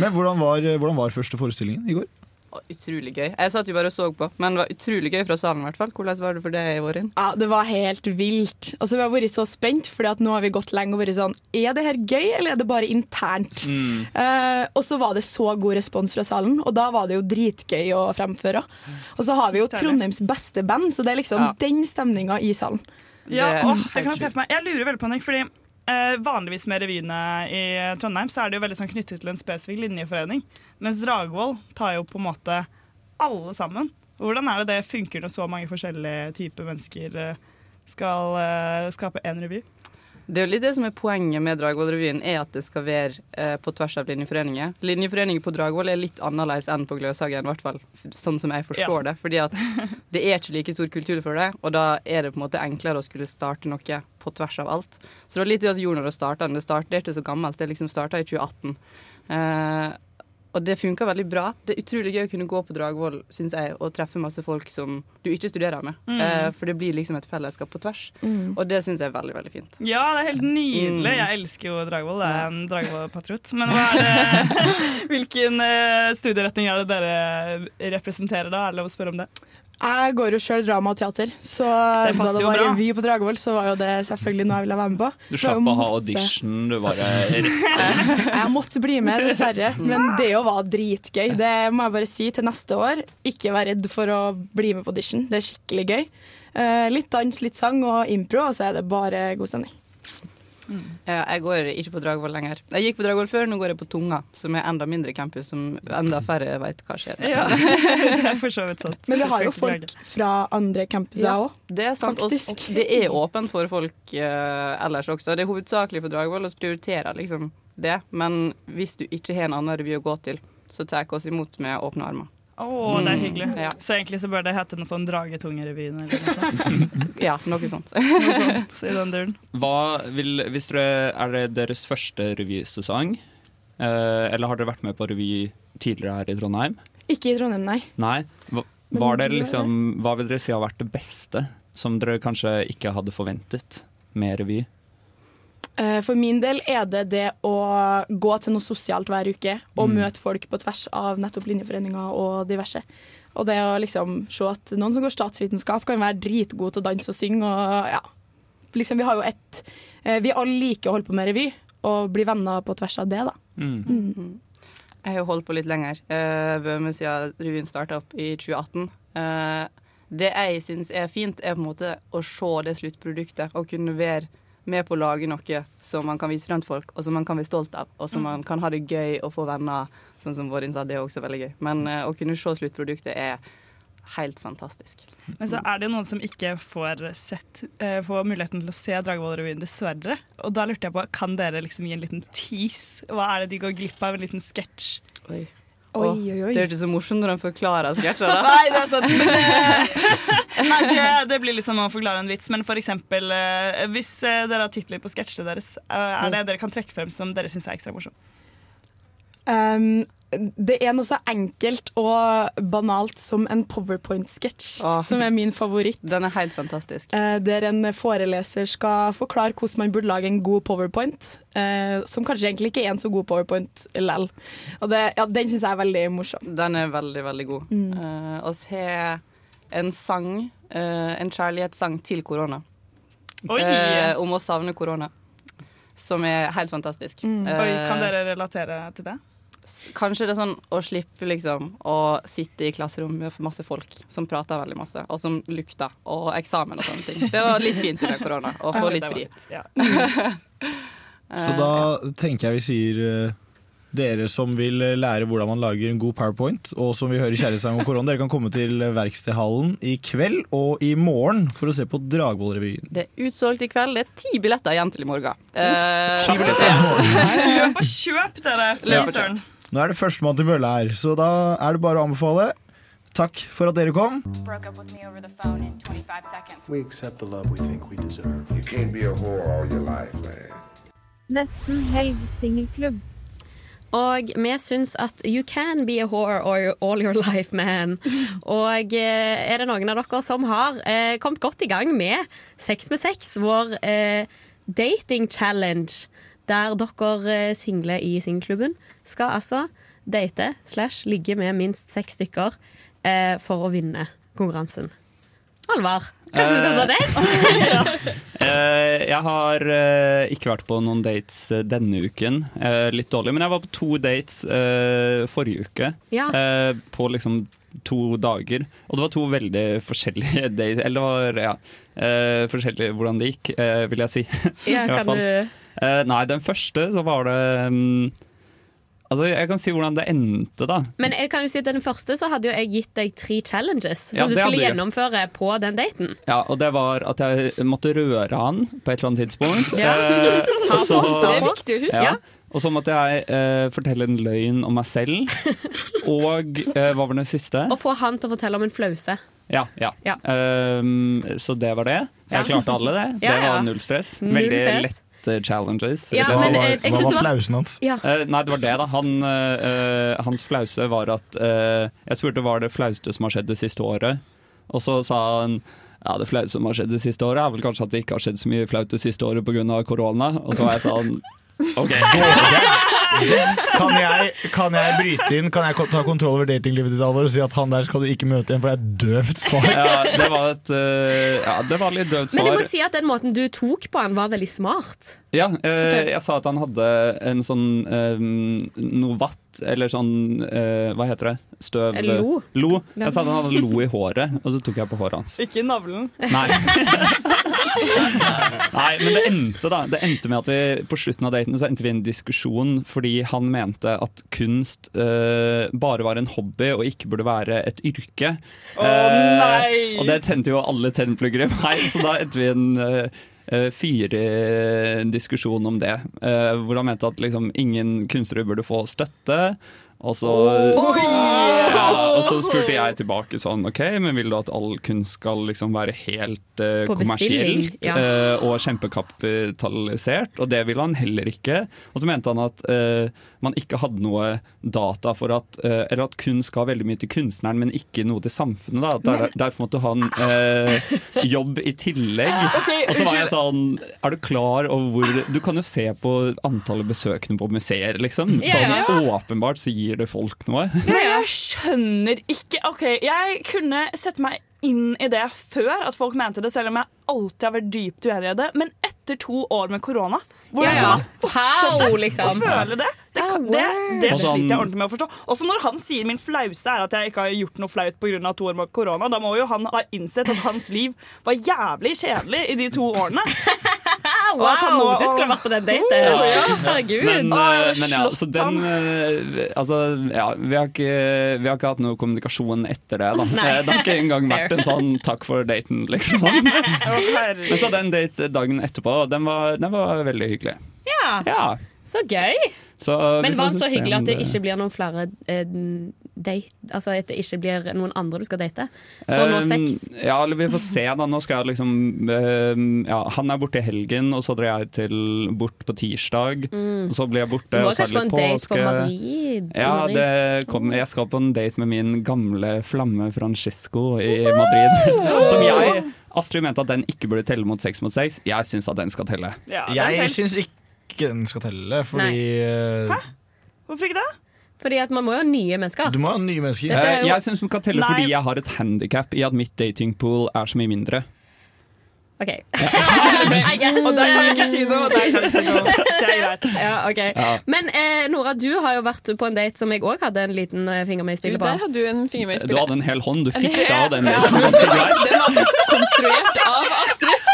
Speaker 11: Men hvordan var, hvordan var første forestillingen i går?
Speaker 13: Og Utrolig gøy. Jeg satt jo bare og så på, men det var utrolig gøy fra salen i hvert fall. Hvordan var det for deg, Vårin?
Speaker 12: Ja, det var helt vilt. Altså, vi har vært så spent, Fordi at nå har vi gått lenge og vært sånn Er det her gøy, eller er det bare internt?
Speaker 9: Mm.
Speaker 12: Eh, og så var det så god respons fra salen, og da var det jo dritgøy å fremføre. Og så har vi jo
Speaker 6: Sykt herlig.
Speaker 12: Trondheims beste band, så det er liksom
Speaker 6: Ja.
Speaker 12: den stemninga i salen.
Speaker 6: Ja, åh, det kan jeg se for meg. Jeg lurer veldig på Nick, fordi eh, vanligvis med revyene i Trondheim, så er det jo veldig sånn knyttet til en spesifikk linjeforening. Mens Dragvoll tar jo på en måte alle sammen. Hvordan er det det funker når så mange forskjellige typer mennesker eh, skal eh, skape én revy?
Speaker 13: Det er jo litt det som er poenget med Dragvoll-revyen, er at det skal være eh, på tvers av linjeforeninger. Linjeforeninger på Dragvoll er litt annerledes enn på Gløshagen, i hvert fall f- sånn som jeg forstår det. Fordi at
Speaker 6: (laughs)
Speaker 13: det er ikke like stor kultur for det, og da er det på en måte enklere å skulle starte noe på tvers av alt. Så det var litt det vi gjorde når det starta. Det startet det er ikke så gammelt, det liksom starta i 2018. Eh, og det funka veldig bra. Det er utrolig gøy å kunne gå på Dragvoll, syns jeg, og treffe masse folk som du ikke studerer med.
Speaker 6: Mm.
Speaker 13: Eh, for det blir liksom et fellesskap på tvers,
Speaker 6: Mm.
Speaker 13: og det syns jeg er veldig, veldig fint.
Speaker 6: Ja, det er helt nydelig.
Speaker 13: Mm.
Speaker 6: Jeg elsker jo Dragvoll. Jeg er en Dragvoll-patriot. Men hva er det, (laughs) hvilken eh, studieretning er det dere representerer da? Er det lov å spørre om det?
Speaker 12: Jeg går jo sjøl drama og teater, så
Speaker 6: Det
Speaker 12: da
Speaker 6: passer
Speaker 12: det
Speaker 6: jo
Speaker 12: var
Speaker 6: bra.
Speaker 12: revy på Dragvoll, så var jo det selvfølgelig noe jeg ville være med på.
Speaker 3: Du
Speaker 12: Det var jo
Speaker 3: slapp å ha
Speaker 12: masse-
Speaker 3: audition, du bare rett
Speaker 12: Jeg måtte bli med, dessverre. Men det jo var dritgøy. Det må jeg bare si til neste år. Ikke vær redd for å bli med på audition. Det er skikkelig gøy. Eh, litt dans, litt sang og impro, og så er det bare god stemning.
Speaker 13: Eh, Jeg går ikke på Dragvoll lenger. Jeg gikk på Dragvoll før, nå går jeg på Tunga, som er enda mindre campus, som enda færre veit hva skjer.
Speaker 6: Ja, (laughs) det er for så vidt sånn. sant.
Speaker 12: Men vi har jo folk fra andre campuser
Speaker 13: Ja,
Speaker 12: òg.
Speaker 13: det er sant. Og s- det er åpent for folk eh, ellers også. Det er hovedsakelig for Dragvoll, og så prioriterer liksom det. Men hvis du ikke har en annen revy å gå til, så tar oss imot med åpne armer.
Speaker 6: Å, det er
Speaker 13: Mm.
Speaker 6: hyggelig.
Speaker 13: Ja.
Speaker 6: Så egentlig så bør det hete noe sånn Dragetungerevyen eller noe sånt.
Speaker 13: Ja, noe sånt.
Speaker 6: Noe sånt i den duren.
Speaker 3: Hva vil, hvis dere, Er det deres første revysesong? Eh, eller har dere vært med på revy tidligere her i Trondheim?
Speaker 12: Ikke i Trondheim, nei.
Speaker 3: Nei. Hva,
Speaker 12: Men
Speaker 3: var
Speaker 12: det
Speaker 3: det
Speaker 12: er-
Speaker 3: liksom, hva vil dere si har vært det beste som dere kanskje ikke hadde forventet med revy?
Speaker 12: Eh, For min del er det det å gå til noe sosialt hver uke og
Speaker 3: Mm.
Speaker 12: møte folk på tvers av nettopp linjeforeninger og diverse. Og det å liksom se at noen som går statsvitenskap, kan være dritgod til å danse og synge. Og ja. liksom, vi har jo et eh, Vi alle liker å holde på med revy og bli venner på tvers av det, da.
Speaker 13: Jeg har jo holdt på litt lenger. Uh, Vært med siden revyen starta opp i 2018. Eh, det jeg syns er fint, er på en måte å se det sluttproduktet. Og kunne være med på å lage noe som man kan vise frem til folk, og som man kan være stolt av. Og som
Speaker 6: Mm.
Speaker 13: man kan ha det gøy og få venner. Sånn som Vårin sa, det er også veldig gøy. Men eh, å kunne se sluttproduktet er helt fantastisk.
Speaker 6: Men så er det jo noen som ikke får, sett, eh, får muligheten til å se Dragvoll-revyen, dessverre. Og da lurte jeg på, kan dere liksom gi en liten tease? Hva er det de går glipp av? En liten sketsj?
Speaker 13: Oi.
Speaker 6: Oi,
Speaker 13: Åh,
Speaker 6: oi, oi.
Speaker 13: Det er ikke så morsomt når de forklarer sketsjer, da.
Speaker 6: Nei, det er sant. Men, eh, (laughs) Nei, det, det blir liksom å forklare en vits. Men for eksempel, eh, hvis eh, dere har titler på sketsjene deres, eh, er
Speaker 13: Mm.
Speaker 6: det dere kan trekke frem som dere syns er ekstra morsomt?
Speaker 12: Um, det er noe så enkelt og banalt som en powerpoint-sketsj,
Speaker 13: Åh.
Speaker 12: som er min favoritt.
Speaker 13: Den er helt fantastisk.
Speaker 12: Eh, der en foreleser skal forklare hvordan man burde lage en god powerpoint, eh, som kanskje egentlig ikke er en så god powerpoint lell. Og det, ja, den syns jeg er veldig morsom.
Speaker 13: Den er veldig, veldig god.
Speaker 12: Mm.
Speaker 13: Eh, oss har en sang, eh, en kjærlighetssang til korona.
Speaker 6: Oi!
Speaker 13: Eh, om å savne korona. Som er helt fantastisk.
Speaker 6: Oi,
Speaker 13: Eh,
Speaker 6: kan dere relatere til det?
Speaker 13: s- Kanskje det er sånn å slippe liksom å sitte i klasserom med masse folk som prater veldig masse, og som lukter, og eksamen og sånne ting. Det var litt fint under korona, å få
Speaker 6: Oi,
Speaker 13: litt
Speaker 6: det var
Speaker 13: fri.
Speaker 6: Ja.
Speaker 2: Eh,
Speaker 11: Så da tenker jeg vi sier eh, dere som vil eh, lære hvordan man lager en god powerpoint, og som vil høre kjærlighetssang om korona, dere kan komme til eh, Verkstedhallen i kveld og i morgen for å se på Dragvollrevyen.
Speaker 13: Det er utsolgt i kveld. Det er ti billetter igjen til i morgen. Eh,
Speaker 11: Ti billetter i
Speaker 6: morgen. Løp og kjøp, dere! Fy
Speaker 11: Ja.
Speaker 6: søren.
Speaker 11: Nå er det førstemann til mølla her, så da er det bare å anbefale. Takk for at dere kom.
Speaker 14: Broke up with me over the phone in 25 seconds.
Speaker 15: We accept the love we think we deserve. You can't be a whore all your life, man.
Speaker 16: Nesten helg singelklubb.
Speaker 2: Og vi syns at you can be a whore or all your life, man. Og eh, er det noen av dere som har eh, kommet godt i gang med Sex med sex, vår eh, dating challenge, der dere eh, single i singelklubben skal altså date slash ligge med minst seks stykker eh, for å vinne konkurransen. Alvar. Kanskje vi skal ta det?
Speaker 3: Eh, jeg har eh, ikke vært på noen dates eh, denne uken. Eh, litt dårlig, men jeg var på to dates eh, forrige uke.
Speaker 2: Ja.
Speaker 3: Eh, på liksom to dager. Og det var to veldig forskjellige (laughs) dates. Eller det var, ja, eh, forskjellig hvordan det gikk, eh, vil jeg si. (laughs)
Speaker 2: Ja,
Speaker 3: I
Speaker 2: kan
Speaker 3: hvert fall.
Speaker 2: du-
Speaker 3: Eh, nei, den første så var det mm, Altså, jeg kan si hvordan det endte, da.
Speaker 2: Men jeg kan jo si at den første så hadde jo jeg gitt deg tre challenges som
Speaker 3: Ja,
Speaker 2: du
Speaker 3: det hadde
Speaker 2: skulle
Speaker 3: du.
Speaker 2: gjennomføre på den daten.
Speaker 3: Ja, og det var at jeg måtte røre han på et eller annet tidspunkt.
Speaker 2: Ja.
Speaker 3: Eh,
Speaker 2: Ta
Speaker 3: og så-
Speaker 2: på, ta på. Det er viktig å huske.
Speaker 3: Ja. Og så måtte jeg eh, fortelle en løgn om meg selv.
Speaker 2: (laughs)
Speaker 3: Og eh, hva var det siste?
Speaker 2: Og få han til å fortelle om en flause.
Speaker 3: Ja. ja.
Speaker 2: Ja.
Speaker 3: Ehm, så det var det. Jeg
Speaker 2: Ja.
Speaker 3: klarte alle det.
Speaker 2: Ja,
Speaker 3: Det
Speaker 2: ja.
Speaker 3: var null stress.
Speaker 2: Null
Speaker 3: Veldig
Speaker 2: stress.
Speaker 3: lette challenges.
Speaker 2: Ja,
Speaker 3: vil jeg si.
Speaker 2: men, Hva var- eh, jeg hva synes var det var- flausen hans? Ja.
Speaker 3: Eh, nei, det var det, da. Han, eh, eh, hans flause var at eh, Jeg spurte hva er det flauste som har skjedd det siste året, og så sa han ja, Det flauste som har skjedd det siste året, er vel kanskje at det ikke har skjedd så mye flaut det siste året pga. korona. Og så var jeg sånn OK.
Speaker 11: Kan jeg, kan jeg bryte inn? Kan jeg ko- ta kontroll over datinglivet ditt Alvor, og si at han der skal du ikke møte igjen, for det er et døvt svar?
Speaker 3: Ja, det var et eh, Ja, det var litt døvt svar.
Speaker 2: Men jeg må si at den måten du tok på han, var veldig smart.
Speaker 3: Ja, eh, jeg sa at han hadde en sånn eh, noe vatt, eller sånn eh, Hva heter det? Støv
Speaker 6: En lo?
Speaker 3: Jeg sa at han hadde lo i håret, og så tok jeg på håret hans.
Speaker 6: Ikke navlen.
Speaker 3: Nei. (laughs) Nei, men det endte da Det endte med at vi på slutten av daten Så endte vi i en diskusjon Fordi han mente at kunst eh, Bare var en hobby og ikke burde være et yrke
Speaker 6: Å,
Speaker 3: Eh,
Speaker 6: nei!
Speaker 3: Og det tente jo alle tennplugger i (laughs) meg Så da endte vi i en eh, eh, fyrig diskusjon om det eh, Hvor han mente at liksom ingen kunstnere burde få støtte og så, ja, og så spurte jeg tilbake sånn Ok, men vil du at all kunst skal liksom være helt eh,
Speaker 2: På bestilling,
Speaker 3: kommersielt
Speaker 2: ja.
Speaker 3: eh, og kjempekapitalisert, og det ville han heller ikke. Og så mente han at eh, man ikke hadde noe data for at eh, Eller at kunst ga veldig mye til kunstneren, men ikke noe til samfunnet. Da. Der, derfor måtte du ha en eh, jobb i tillegg.
Speaker 6: Ok,
Speaker 3: og så var jeg
Speaker 6: unnskyld.
Speaker 3: sånn Er du klar over hvor Du kan jo se på antallet besøkende på museer, liksom.
Speaker 6: Ja,
Speaker 3: Sånn
Speaker 6: ja.
Speaker 3: åpenbart så gir det folk noe.
Speaker 6: Men jeg skjønner ikke Ok, jeg kunne sette meg inn i det før at folk mente det, selv om jeg alltid har vært dypt uenig i det. Men etter to år med korona, hvordan
Speaker 2: Ja, ja.
Speaker 6: kan man fortsette
Speaker 2: How, liksom?
Speaker 6: å føle det? Det, kan, det, det
Speaker 3: Og sånn-
Speaker 6: sliter jeg ordentlig med å forstå. Også når han sier min flause er at jeg ikke har gjort noe flaut pga. to år med korona, da må jo han ha innsett at hans liv var jævlig kjedelig i de to
Speaker 2: (laughs)
Speaker 6: årene. Og at han
Speaker 2: Wow, du skulle vært på den daten.
Speaker 6: Oh, ja.
Speaker 2: Herregud.
Speaker 3: Men,
Speaker 6: Å,
Speaker 3: eh, men ja, så den eh, Altså, ja, vi har, ikke, vi har ikke hatt noe kommunikasjon etter det. Da.
Speaker 2: (laughs)
Speaker 6: Nei.
Speaker 3: Eh, Det har ikke engang vært
Speaker 6: Fair.
Speaker 3: en sånn 'takk for daten', liksom. Men så den date dagen etterpå, den var, den var veldig hyggelig.
Speaker 2: Ja.
Speaker 3: Ja.
Speaker 2: Så gøy.
Speaker 3: Så, eh, vi
Speaker 2: Men
Speaker 3: får
Speaker 2: var det så
Speaker 3: se om
Speaker 2: hyggelig at det ikke blir noen flere eh, date? Altså at det ikke blir noen andre du skal date? For å nå
Speaker 3: Um,
Speaker 2: sex?
Speaker 3: Ja, eller vi får se da. Nå skal jeg liksom um, ja, Han er borte i helgen, og så drar jeg til bort på tirsdag.
Speaker 2: Mm.
Speaker 3: Og så blir jeg
Speaker 2: Du
Speaker 3: borte,
Speaker 2: må
Speaker 3: og så er
Speaker 2: kanskje
Speaker 3: det
Speaker 2: få
Speaker 3: litt
Speaker 2: en date på
Speaker 3: påske.
Speaker 2: Madrid? i
Speaker 3: Ja,
Speaker 2: Madrid.
Speaker 3: det kommer- jeg skal på en date med min gamle flamme Francesco i Madrid. (laughs) Som jeg Astrid mente at den ikke burde telle mot seks mot seks. Jeg syns at den skal telle.
Speaker 11: Jeg syns ikke den skal telle, fordi eh,
Speaker 6: Hvorfor ikke det?
Speaker 2: Fordi at man må jo ha nye mennesker.
Speaker 11: du må ha nye mennesker.
Speaker 2: Dette er
Speaker 3: Eh,
Speaker 2: jo-
Speaker 3: Jeg syns den skal telle
Speaker 2: Nei.
Speaker 3: fordi jeg har et handikap i at mitt datingpool er så mye mindre. (laughs)
Speaker 2: OK. (laughs) I guess.
Speaker 6: Og der kan vi ikke si noe. og Der kan vi si noe. Det er greit.
Speaker 2: Ja, ok.
Speaker 3: Ja.
Speaker 2: Men eh, Nora, du har jo vært på en date som jeg òg hadde en liten eh, finger med i
Speaker 4: Du,
Speaker 2: spillet på.
Speaker 4: der hadde du en finger med i
Speaker 3: Du
Speaker 4: spillet. (laughs)
Speaker 3: hadde en hel hånd, du
Speaker 4: En
Speaker 3: fiska
Speaker 4: hel-
Speaker 3: av den.
Speaker 4: Ja.
Speaker 3: daten.
Speaker 4: Den var konstruert av Astrid.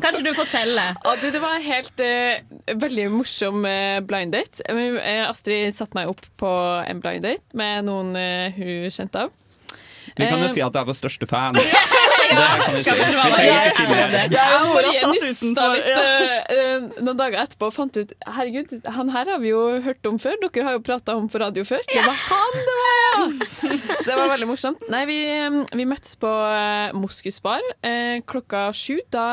Speaker 2: Kanskje du forteller?
Speaker 4: Ja, du, det var en helt eh, veldig morsom eh, blind date. Eh, Astrid satte meg opp på en blind date med noen eh, hun kjente av.
Speaker 3: Vi kan jo
Speaker 4: Eh,
Speaker 3: si at jeg er vår største fan. Det kan vi si. Vi trenger ikke si mer.
Speaker 4: Jeg og
Speaker 6: Nora
Speaker 4: Marie
Speaker 6: satt
Speaker 4: nysta
Speaker 6: utenfor,
Speaker 4: litt
Speaker 6: ja.
Speaker 4: eh, eh, noen dager etterpå og fant ut Herregud, han her har vi jo hørt om før. Dere har jo prata om på radio før. Det var han, det var jeg! Så det var veldig morsomt. Nei, vi, eh, vi møttes på eh, Moskusbar eh, klokka sju. Da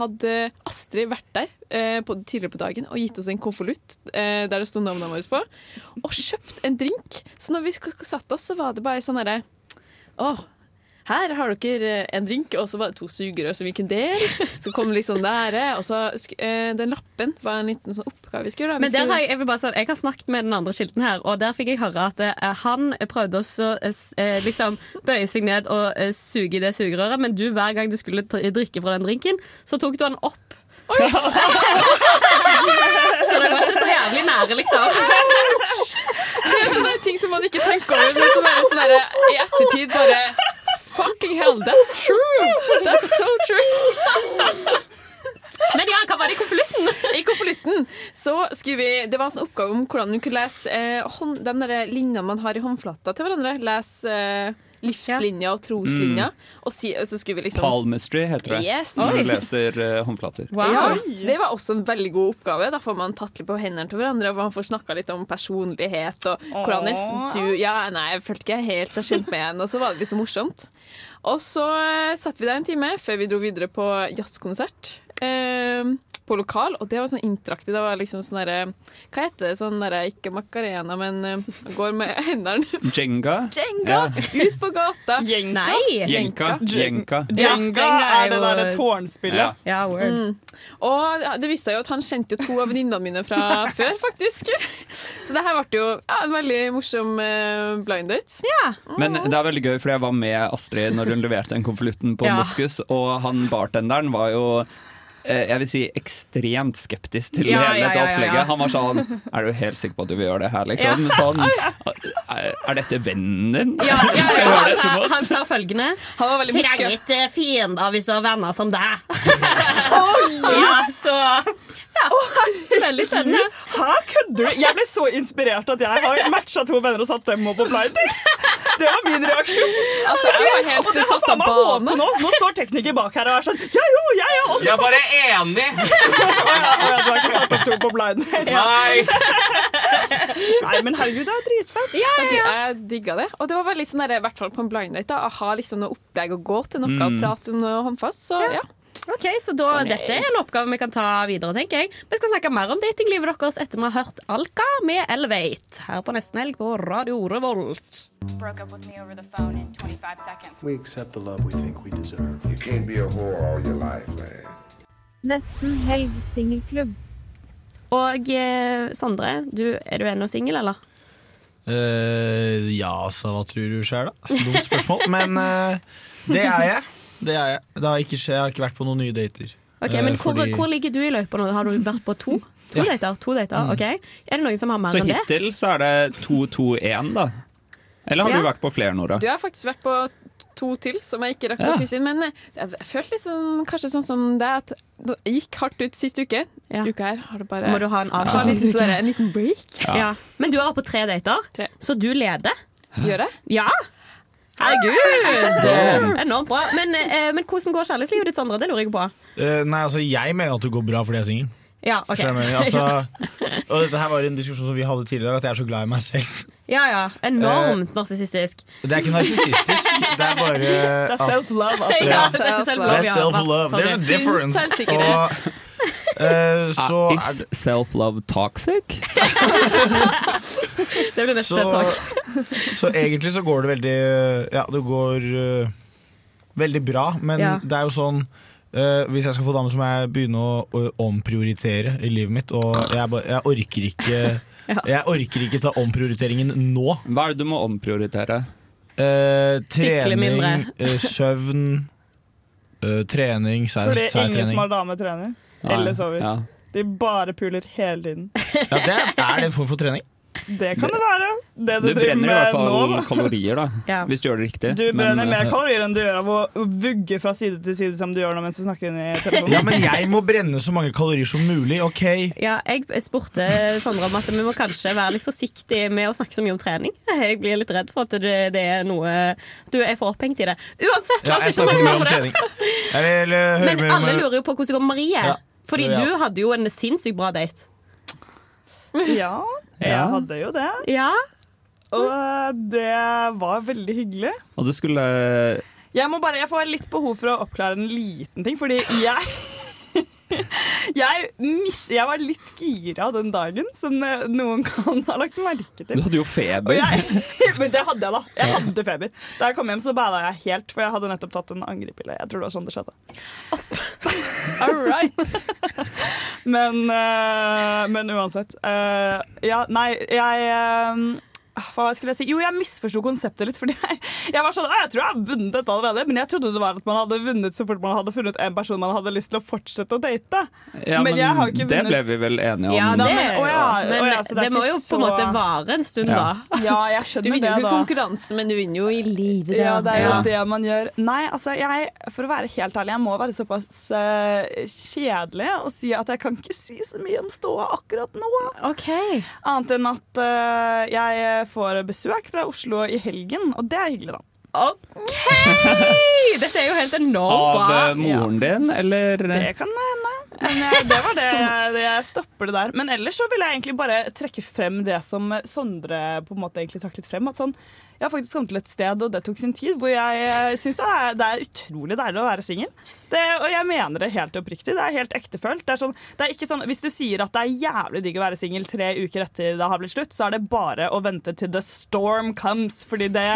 Speaker 4: hadde Astrid vært der eh, på, tidligere på dagen og gitt oss en konvolutt eh, der det sto navnene våre på, og kjøpt en drink. Så når vi sk- satt oss, så var det bare sånn herre Åh, Her har dere eh, en drink, og så var det to sugerør som gikk en del. Så kom det litt sånn nære. Og så sk- eh, den lappen var en liten sånn oppgave vi skulle gjøre. Vi
Speaker 2: Men der har
Speaker 4: skulle-
Speaker 2: jeg, jeg, vil bare si at jeg har snakket med den andre kilden her, og der fikk jeg høre at eh, han prøvde også å eh, liksom bøye seg ned og eh, suge i det sugerøret, men du hver gang du skulle dri- drikke fra den drinken, så tok du den opp. (laughs) så det var ikke så jævlig nære, liksom.
Speaker 4: Det er sånne ting som man ikke tenker over. Men sånn der- sånn der, I ettertid bare Fucking hell, that's true! That's so true! Men ja, hva var det i konvolutten? I konvolutten så skulle vi Det var en sånn oppgave om hvordan du kunne lese eh, hånd, de der linjene man har i håndflata til hverandre. Les eh, livslinja og troslinja. Og si, så skulle vi liksom
Speaker 3: Palmistry heter det.
Speaker 4: Yes.
Speaker 3: Når
Speaker 4: Oi.
Speaker 3: du leser eh, håndflater.
Speaker 4: Wow. Så det var også en veldig god oppgave. Da får man tatt litt på hendene til hverandre, og man får snakka litt om personlighet og hvordan jeg, du Ja, nei, jeg følte ikke jeg helt jeg kjente meg igjen, og så var det liksom morsomt. Og så eh, satt vi der en time før vi dro videre på jazzkonsert. Eh, på lokal, og det var sånn interaktiv. Det var liksom sånn derre Hva heter det? Sånn derre ikke macarena, men eh, går med (laughs) hendene
Speaker 3: Jenga.
Speaker 4: Jenga! Ut på gata. Jenka.
Speaker 3: Ja. Jenka. Jenka.
Speaker 4: Ja,
Speaker 6: Jenga
Speaker 4: Jenga
Speaker 6: er det
Speaker 4: jo-
Speaker 6: derre tårnspillet.
Speaker 4: Mm. Og det viste seg jo at han kjente jo to av venninnene mine fra før, faktisk. Så det her ble jo ja, en veldig morsom eh, blind date.
Speaker 3: Men det er veldig gøy, for jeg var med Astrid når hun leverte den konvolutten på
Speaker 4: Ja.
Speaker 3: Moskus, og han bartenderen var jo eh, jeg vil si ekstremt skeptisk til
Speaker 17: Ja,
Speaker 3: hele
Speaker 17: ja, ja,
Speaker 3: dette
Speaker 17: ja,
Speaker 3: opplegget.
Speaker 17: ja.
Speaker 3: Han var sånn Er du helt sikker på at du vil gjøre det her, liksom?
Speaker 17: Ja.
Speaker 3: Sånn, er er dette vennen din?
Speaker 2: Ja, ja,
Speaker 3: Skal
Speaker 2: ja. Han,
Speaker 3: jeg gjøre det
Speaker 2: sa,
Speaker 3: etterpå?
Speaker 2: han sa følgende
Speaker 4: Han var veldig musket.
Speaker 2: Trenger ikke fiender hvis du har venner som (laughs) deg. ja, så ja. Veldig spennende.
Speaker 6: Hæ, kødder du? Jeg ble så inspirert at jeg har matcha to venner og satt dem opp på blind date. Det var min reaksjon.
Speaker 4: Altså, jeg var helt
Speaker 6: og det har
Speaker 4: tatt av
Speaker 6: faen meg
Speaker 4: banen.
Speaker 6: Håkon nå. Nå står tekniker bak her og er sånn Ja jo, jeg er også
Speaker 18: Jeg er bare enig!
Speaker 6: Ja, Du har ikke satt opp to på blind date?
Speaker 18: Nei!
Speaker 6: Nei, men herregud, det er dritfett.
Speaker 4: Ja, du, Jeg digga det. Og det var veldig sånn der, i hvert fall på en blind date, da, å ha liksom noe opplegg å gå til, noe
Speaker 2: Mm.
Speaker 4: å prate om noe håndfast. Så ja.
Speaker 2: Ok, så da, Dette er en oppgave vi kan ta videre. tenker jeg Vi skal snakke mer om datinglivet deres etter vi har hørt Alka med Elevate her på Nesten Helg på Radio Revolt.
Speaker 12: Broke up with me over the phone in 25 seconds.
Speaker 15: We accept the love we think we deserve. You can't be a whore all your life, man.
Speaker 19: Nesten helg singelklubb.
Speaker 2: Og eh, Sondre, du, er du ennå singel, eller?
Speaker 5: Eh, ja, så hva tror du skjer, da? Dumt spørsmål. Men eh, det er jeg. Det er jeg. Det har ikke skjedd. Jeg har ikke vært på noen nye dater.
Speaker 2: Ok,
Speaker 5: Eh,
Speaker 2: men hvor,
Speaker 5: fordi-
Speaker 2: hvor ligger du i løypa nå? Har du vært på to? To
Speaker 5: Ja.
Speaker 2: dater? to dater,
Speaker 3: Mm.
Speaker 2: ok Er det noen som har mer
Speaker 3: Så
Speaker 2: enn det?
Speaker 3: hittil så er det 2-2-1, da. Eller har
Speaker 4: Ja.
Speaker 3: du vært på flere, Nora?
Speaker 4: Du har faktisk vært på to til som jeg ikke rakk å
Speaker 3: Ja.
Speaker 4: spise inn. Men eh, jeg følte litt sånn, kanskje sånn som deg, at det gikk hardt ut sist uke. Uka her har det bare
Speaker 2: Må du ha en
Speaker 4: Ta litt
Speaker 2: avslutning?
Speaker 4: sånn der, en liten break.
Speaker 2: Ja. Men du har vært på tre dater, så du leder.
Speaker 4: Gjør jeg?
Speaker 2: Ja! Herregud!
Speaker 5: Damn.
Speaker 2: Enormt bra. Men, eh, men hvordan går kjærlighetslivet ditt, Sondre? Det lurer jeg på.
Speaker 5: Eh, nei, altså, jeg mener at det går bra fordi jeg er singel.
Speaker 2: Ja, ok.
Speaker 5: Skjønner du hva
Speaker 2: (laughs)
Speaker 5: jeg mener? Altså, og dette her var en diskusjon som vi hadde tidligere, at jeg er så glad i meg selv.
Speaker 2: Ja ja. Enormt
Speaker 5: Eh,
Speaker 2: narsissistisk.
Speaker 5: Det er ikke narsissistisk, det er bare
Speaker 2: (laughs) Det er self-love, altså.
Speaker 5: Ja,
Speaker 2: (laughs) Ja, det
Speaker 5: det
Speaker 2: er self-love,
Speaker 5: er
Speaker 2: ja.
Speaker 5: self-love.
Speaker 2: Sånn
Speaker 5: There's a
Speaker 2: det.
Speaker 5: difference.
Speaker 2: Syns selvsikkerhet.
Speaker 5: Og, eh, så
Speaker 3: Ah,
Speaker 5: er
Speaker 3: is
Speaker 5: det-
Speaker 3: self-love toxic?
Speaker 2: Det blir neste
Speaker 5: Så-
Speaker 2: takk.
Speaker 5: Så egentlig så går det veldig eh, Ja, det går øh, veldig bra, men
Speaker 2: Ja.
Speaker 5: det er jo sånn øh, hvis jeg skal få dame, så må jeg begynne å, å omprioritere i livet mitt. Og jeg, bare- jeg orker ikke
Speaker 2: (laughs)
Speaker 5: Jeg orker ikke ta omprioriteringen nå.
Speaker 3: Hva er det du må omprioritere?
Speaker 5: Eh,
Speaker 3: Sykle
Speaker 5: trening,
Speaker 3: mindre.
Speaker 5: eh, søvn, eh, trening, sær,
Speaker 6: Fordi ingen som
Speaker 5: særtrening.
Speaker 6: har dame, trener.
Speaker 5: Nei,
Speaker 6: Eller sover.
Speaker 5: ja.
Speaker 6: De bare puler hele tiden.
Speaker 5: Ja, det er, er det en form for trening?
Speaker 6: Det kan det være. Det
Speaker 3: Du
Speaker 6: du, driver
Speaker 3: brenner i hvert
Speaker 6: med nå.
Speaker 3: fall
Speaker 6: da.
Speaker 3: kalorier, da.
Speaker 6: (laughs) Ja.
Speaker 3: Hvis du gjør det riktig.
Speaker 6: Du brenner
Speaker 3: Men,
Speaker 6: mer
Speaker 3: eh,
Speaker 6: kalorier enn du gjør av å vugge fra side til side som du gjør nå mens du snakker inn i telefonen.
Speaker 5: Ja, men jeg må brenne så mange kalorier som mulig, OK?
Speaker 2: Ja, jeg spurte Sondre om at vi må kanskje være litt forsiktige med å snakke så mye om trening. Jeg blir litt redd for at det, det er noe Du er for opphengt i det. Uansett,
Speaker 5: Ja,
Speaker 2: la oss
Speaker 5: jeg
Speaker 2: ikke
Speaker 5: snakker
Speaker 2: snakke
Speaker 5: mye
Speaker 2: mer
Speaker 5: om
Speaker 2: om det.
Speaker 5: trening. Jeg vil eh, høre
Speaker 2: Men
Speaker 5: mer om
Speaker 2: alle lurer jo på hvordan det går med Marie.
Speaker 5: Ja.
Speaker 2: Fordi
Speaker 5: Ja.
Speaker 2: du hadde jo en sinnssykt bra
Speaker 6: (laughs)
Speaker 2: date.
Speaker 6: Ja, jeg hadde jo det. Og eh, det var veldig hyggelig.
Speaker 3: eh, Og du skulle
Speaker 6: Jeg (laughs) må bare, jeg får litt behov for å oppklare en liten ting, fordi jeg Jeg, mis, jeg var litt gira den dagen, som eh, noen kan ha lagt merke
Speaker 3: Du
Speaker 6: til.
Speaker 3: hadde jo feber.
Speaker 6: (laughs) Men det hadde jeg, da. Jeg hadde feber. Da jeg kom hjem, så bada jeg helt, for jeg hadde nettopp tatt en angrepille. Jeg tror det var sånn det skjedde. (laughs) men, eh, men uansett. eh, ja, nei, jeg eh, hva skulle jeg si? Jo, jeg misforsto konseptet litt. Fordi jeg, jeg var sånn, «Å, jeg tror jeg har vunnet dette allerede, men jeg trodde det var at man hadde vunnet så fort man hadde funnet en person man hadde lyst til å fortsette å date.
Speaker 3: (laughs) Ja, men,
Speaker 6: jeg har ikke
Speaker 3: det
Speaker 6: vunnet-
Speaker 3: ble vi vel enige om.
Speaker 6: Ja, da, men, å ja,
Speaker 2: Men
Speaker 6: å ja, så
Speaker 2: det
Speaker 6: er
Speaker 2: må
Speaker 6: ikke
Speaker 2: jo på en
Speaker 6: så-
Speaker 2: måte vare en stund,
Speaker 3: Ja.
Speaker 2: da.
Speaker 6: Ja, jeg skjønner
Speaker 4: Du vinner jo
Speaker 6: det,
Speaker 4: ikke
Speaker 6: da.
Speaker 4: konkurransen, men du vinner jo i livet.
Speaker 6: Ja, det er jo
Speaker 4: Ja.
Speaker 6: det man gjør. Nei, altså, jeg, for å være helt ærlig, jeg må være såpass eh, kjedelig og si at jeg kan ikke si så mye om ståa akkurat nå. Annet enn at eh, jeg får besøk fra Oslo i helgen, og det er hyggelig, da.
Speaker 2: OK! (laughs) Dette er jo helt enormt
Speaker 3: Av eh,
Speaker 2: bra.
Speaker 3: moren din, eller? eh,
Speaker 6: Det kan hende. Men eh, det var det, det jeg stopper det der. Men ellers så vil jeg egentlig bare trekke frem det som Sondre på en måte egentlig trakk litt frem. At sånn, jeg har faktisk kommet til et sted, og det tok sin tid, hvor jeg syns det, er- det er utrolig deilig å være singel. Det- Og jeg mener det helt oppriktig. Det er helt ektefølt. Det er sånn, det er ikke sånn, hvis du sier at det er jævlig digg å være singel tre uker etter det har blitt slutt, så er det bare å vente til the storm comes, fordi det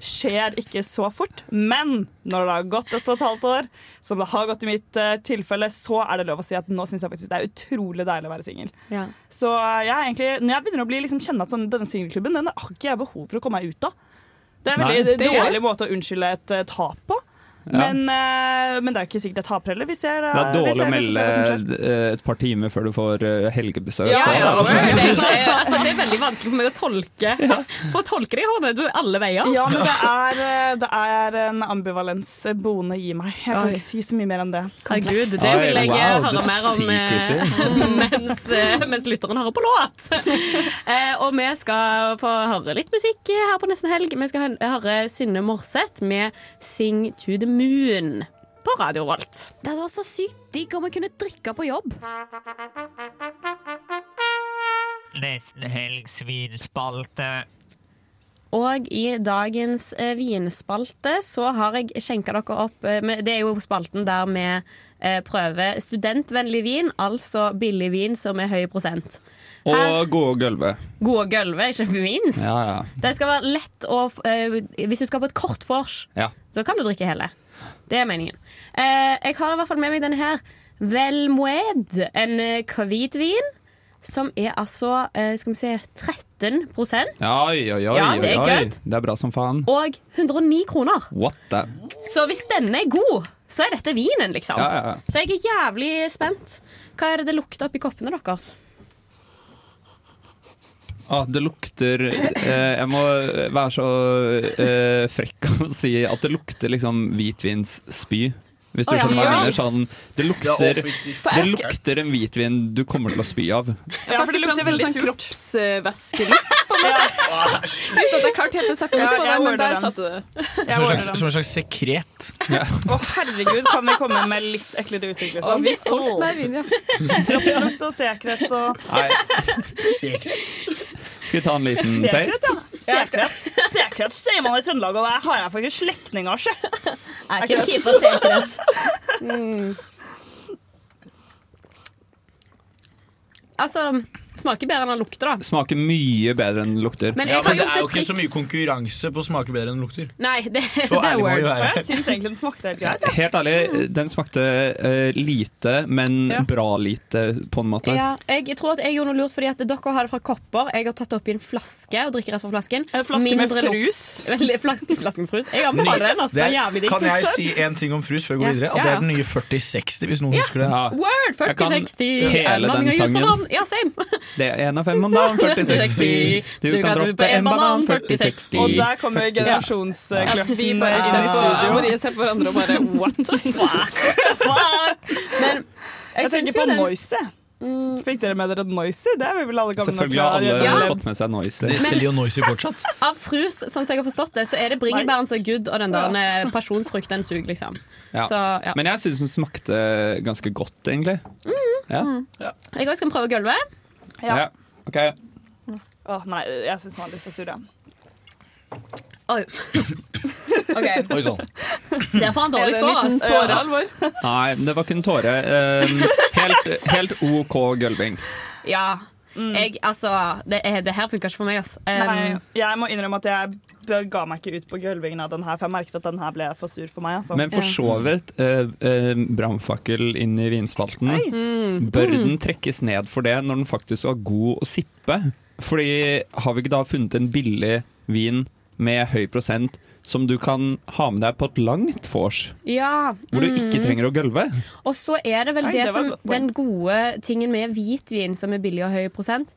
Speaker 6: skjer ikke så fort. Men når det har gått et og et halvt år, som det har gått i mitt eh, tilfelle, så er det lov å si at nå syns jeg faktisk det er utrolig deilig å være singel.
Speaker 2: Ja.
Speaker 6: Så eh, jeg er egentlig, når jeg begynner å bli liksom kjenne at sånn, denne singelklubben den har ikke jeg behov for å komme meg ut av. Det er en
Speaker 3: Nei,
Speaker 6: veldig
Speaker 3: det gjør
Speaker 6: dårlig måte å unnskylde et eh, tap på.
Speaker 3: Ja.
Speaker 6: Men, eh, men det er ikke sikkert jeg taper heller. Vi ser, eh,
Speaker 3: Det er
Speaker 6: vi ser,
Speaker 3: dårlig å
Speaker 6: vi får se
Speaker 3: melde
Speaker 6: hva som skjer.
Speaker 3: eh, et par timer før du får eh, helgebesøk.
Speaker 2: Ja, ja,
Speaker 3: da.
Speaker 2: det, er veldig, (laughs) altså, det er veldig vanskelig for meg å tolke For å tolke det i hodet alle veier.
Speaker 6: Ja, men det er, eh, det er en ambivalens boende i meg. Jeg kan
Speaker 2: Oi.
Speaker 6: ikke si så mye mer enn det.
Speaker 2: Herregud, det vil jeg
Speaker 6: Oi,
Speaker 2: eh,
Speaker 6: wow,
Speaker 2: høre
Speaker 6: the
Speaker 2: mer om (laughs) eh, mens, eh, mens lytteren hører på (laughs) låt. Eh, og vi skal få høre litt musikk eh, her på nesten helg. Vi skal hø- høre Synne Morseth med 'Sing to the Moon' på Radio Volt.
Speaker 1: Det hadde vært så sykt digg om jeg kunne drikke på jobb.
Speaker 9: Nesten helgs vinspalte.
Speaker 2: Og i dagens eh, vinspalte så har jeg skjenka dere opp eh, med- Det er jo spalten der vi eh, prøver studentvennlig vin, altså billig vin som er høy prosent.
Speaker 3: Og gode gulvet.
Speaker 2: Gode gulvet, ikke minst.
Speaker 3: Ja, ja.
Speaker 2: Det skal være lett å f- eh, Hvis du skal på et kort vors,
Speaker 3: Ja.
Speaker 2: så kan du drikke hele. Det er meningen. Eh, jeg har i hvert fall med meg denne her. Velmoed, en eh, hvitvin som er altså eh, Skal vi se 13
Speaker 3: Ja, oi, oi, oi,
Speaker 2: Ja, det
Speaker 3: oi,
Speaker 2: er
Speaker 3: oi.
Speaker 2: good.
Speaker 3: Det er bra som faen.
Speaker 2: og 109 kroner.
Speaker 3: What the?
Speaker 2: Så hvis denne er god, så er dette vinen, liksom.
Speaker 3: Ja, ja, ja.
Speaker 2: Så jeg er jævlig spent. Hva er det det lukter oppi koppene altså? deres?
Speaker 3: Ah, det lukter eh, Jeg må være så eh, frekk å si at det lukter liksom hvitvinsspy. Hvis du
Speaker 2: Å, ja.
Speaker 3: skjønner hva jeg
Speaker 2: Ja.
Speaker 3: mener. Sånn, det, lukter,
Speaker 4: Ja, å, fy- fy-
Speaker 3: det lukter en hvitvin du kommer til å spy av.
Speaker 4: Ja, for sånn det lukter veldig surt. Kroppsvæskelikt, på en måte. Uten at jeg klarte helt å sette ord
Speaker 6: Ja,
Speaker 4: på det,
Speaker 6: jeg
Speaker 4: men
Speaker 6: order
Speaker 4: der
Speaker 6: den.
Speaker 4: satte du det.
Speaker 6: Jeg
Speaker 5: Som en,
Speaker 6: ordner
Speaker 3: sånn
Speaker 5: slags, som en slags sekret.
Speaker 6: Å, herregud, kan vi komme med litt eklere uttrykk?
Speaker 4: Å,
Speaker 6: Liksom?
Speaker 4: vi solgte meg vin,
Speaker 6: Kroppslukt og sekret
Speaker 4: (laughs)
Speaker 6: og
Speaker 3: Nei. Skal vi ta en liten
Speaker 6: Sekret,
Speaker 3: taste?
Speaker 6: ja. Sekret. Sekret sier man i Trøndelag, og der har jeg faktisk slektninger av. sjø.
Speaker 3: (laughs)
Speaker 2: Er
Speaker 6: ikke det
Speaker 2: ikke det
Speaker 6: sant?
Speaker 2: på sekret. Mm. Altså, smaker bedre enn den lukter, da.
Speaker 3: Smaker mye bedre enn det lukter.
Speaker 2: Men
Speaker 5: Ja,
Speaker 2: jeg
Speaker 5: men
Speaker 2: har
Speaker 5: det
Speaker 2: gjort
Speaker 5: er jo
Speaker 2: et
Speaker 5: ikke så mye
Speaker 2: triks.
Speaker 5: konkurranse på å smake bedre enn det lukter.
Speaker 2: Nei, det,
Speaker 5: Så
Speaker 2: det er
Speaker 5: ærlig må vi
Speaker 2: word.
Speaker 5: være.
Speaker 6: Jeg syns egentlig den smakte helt greit.
Speaker 3: Eh, Helt ærlig, den smakte eh, lite, men
Speaker 2: Ja.
Speaker 3: bra lite, på en måte.
Speaker 2: Ja, jeg tror at jeg gjorde noe lurt fordi at dere har det fra kopper. Jeg har tatt det oppi en flaske og drikker rett fra flasken.
Speaker 6: flaske med
Speaker 2: Mindre lukt. Veldig flas- Flaske med frus. Jeg anbefaler den. Altså, det er jævlig digg.
Speaker 5: Kan jeg si en ting om frus før vi
Speaker 2: Ja.
Speaker 5: går videre? At
Speaker 2: Ja,
Speaker 5: det
Speaker 2: ja.
Speaker 5: er den nye 4060, hvis noen
Speaker 2: Ja.
Speaker 5: husker det.
Speaker 2: Word!
Speaker 3: Jeg kan
Speaker 2: 4060.
Speaker 3: hele
Speaker 2: en blanding
Speaker 3: den
Speaker 2: av jus og
Speaker 3: sangen.
Speaker 2: vann. Ja, same.
Speaker 3: Det er én av fem om dagen, 40-60. Du kan droppe en banan, 40-60.
Speaker 6: Og der kommer
Speaker 3: 40-60.
Speaker 6: generasjonskløften
Speaker 4: At vi
Speaker 6: inn
Speaker 4: bare
Speaker 6: i
Speaker 4: ser på,
Speaker 6: studio.
Speaker 4: Marie ser på hverandre og bare
Speaker 6: (laughs)
Speaker 4: what the fuck?
Speaker 6: Jeg
Speaker 4: synes
Speaker 6: tenker
Speaker 4: jo
Speaker 6: på
Speaker 4: den- Mm.
Speaker 6: Noise. Fikk dere med dere Noise? Det er vi vel alle gamle
Speaker 3: Selvfølgelig har alle fått med seg Noiser.
Speaker 2: Det selger jo
Speaker 5: Noisy fortsatt.
Speaker 2: Av frus, sånn som jeg har forstått det, så er det bringebæren som er good, og den der eh, pasjonsfrukten suger, liksom.
Speaker 3: Ja.
Speaker 2: Så, ja.
Speaker 3: Men jeg syns den smakte ganske godt, egentlig. Ja.
Speaker 2: Jeg òg skal prøve gulvet.
Speaker 3: Ja. Ok.
Speaker 6: Åh, nei, jeg syns den var litt for sur. jeg.
Speaker 2: Oi. OK.
Speaker 3: Oi sann.
Speaker 2: (laughs) Der får han
Speaker 4: Er det en
Speaker 2: dårlig score,
Speaker 4: liten
Speaker 2: altså.
Speaker 4: tåre, Alvor?
Speaker 3: Nei, det var ikke en tåre. Eh, Helt, helt OK gulving.
Speaker 2: Ja. Jeg, altså, det, er- det her funker ikke for meg, altså. Um,
Speaker 6: Mm. Nei, jeg må innrømme at jeg b- ga meg ikke ut på gulvingen av den her, for jeg merket at den her ble for sur for meg. Altså.
Speaker 3: Men for så vidt, eh, eh, brannfakkel inn i vinspalten.
Speaker 6: Mm.
Speaker 3: Bør
Speaker 6: Mm.
Speaker 3: den trekkes ned for det når den faktisk var god å sippe? Fordi har vi ikke da funnet en billig vin med høy prosent som du kan ha med deg på et langt vors?
Speaker 2: ja.
Speaker 3: Hvor du ikke
Speaker 2: mm.
Speaker 3: trenger å gulve?
Speaker 2: Og så er det vel
Speaker 6: Nei,
Speaker 2: det,
Speaker 6: det var
Speaker 2: som
Speaker 6: et godt poeng.
Speaker 2: den gode tingen med hvitvin som er billig og høy prosent,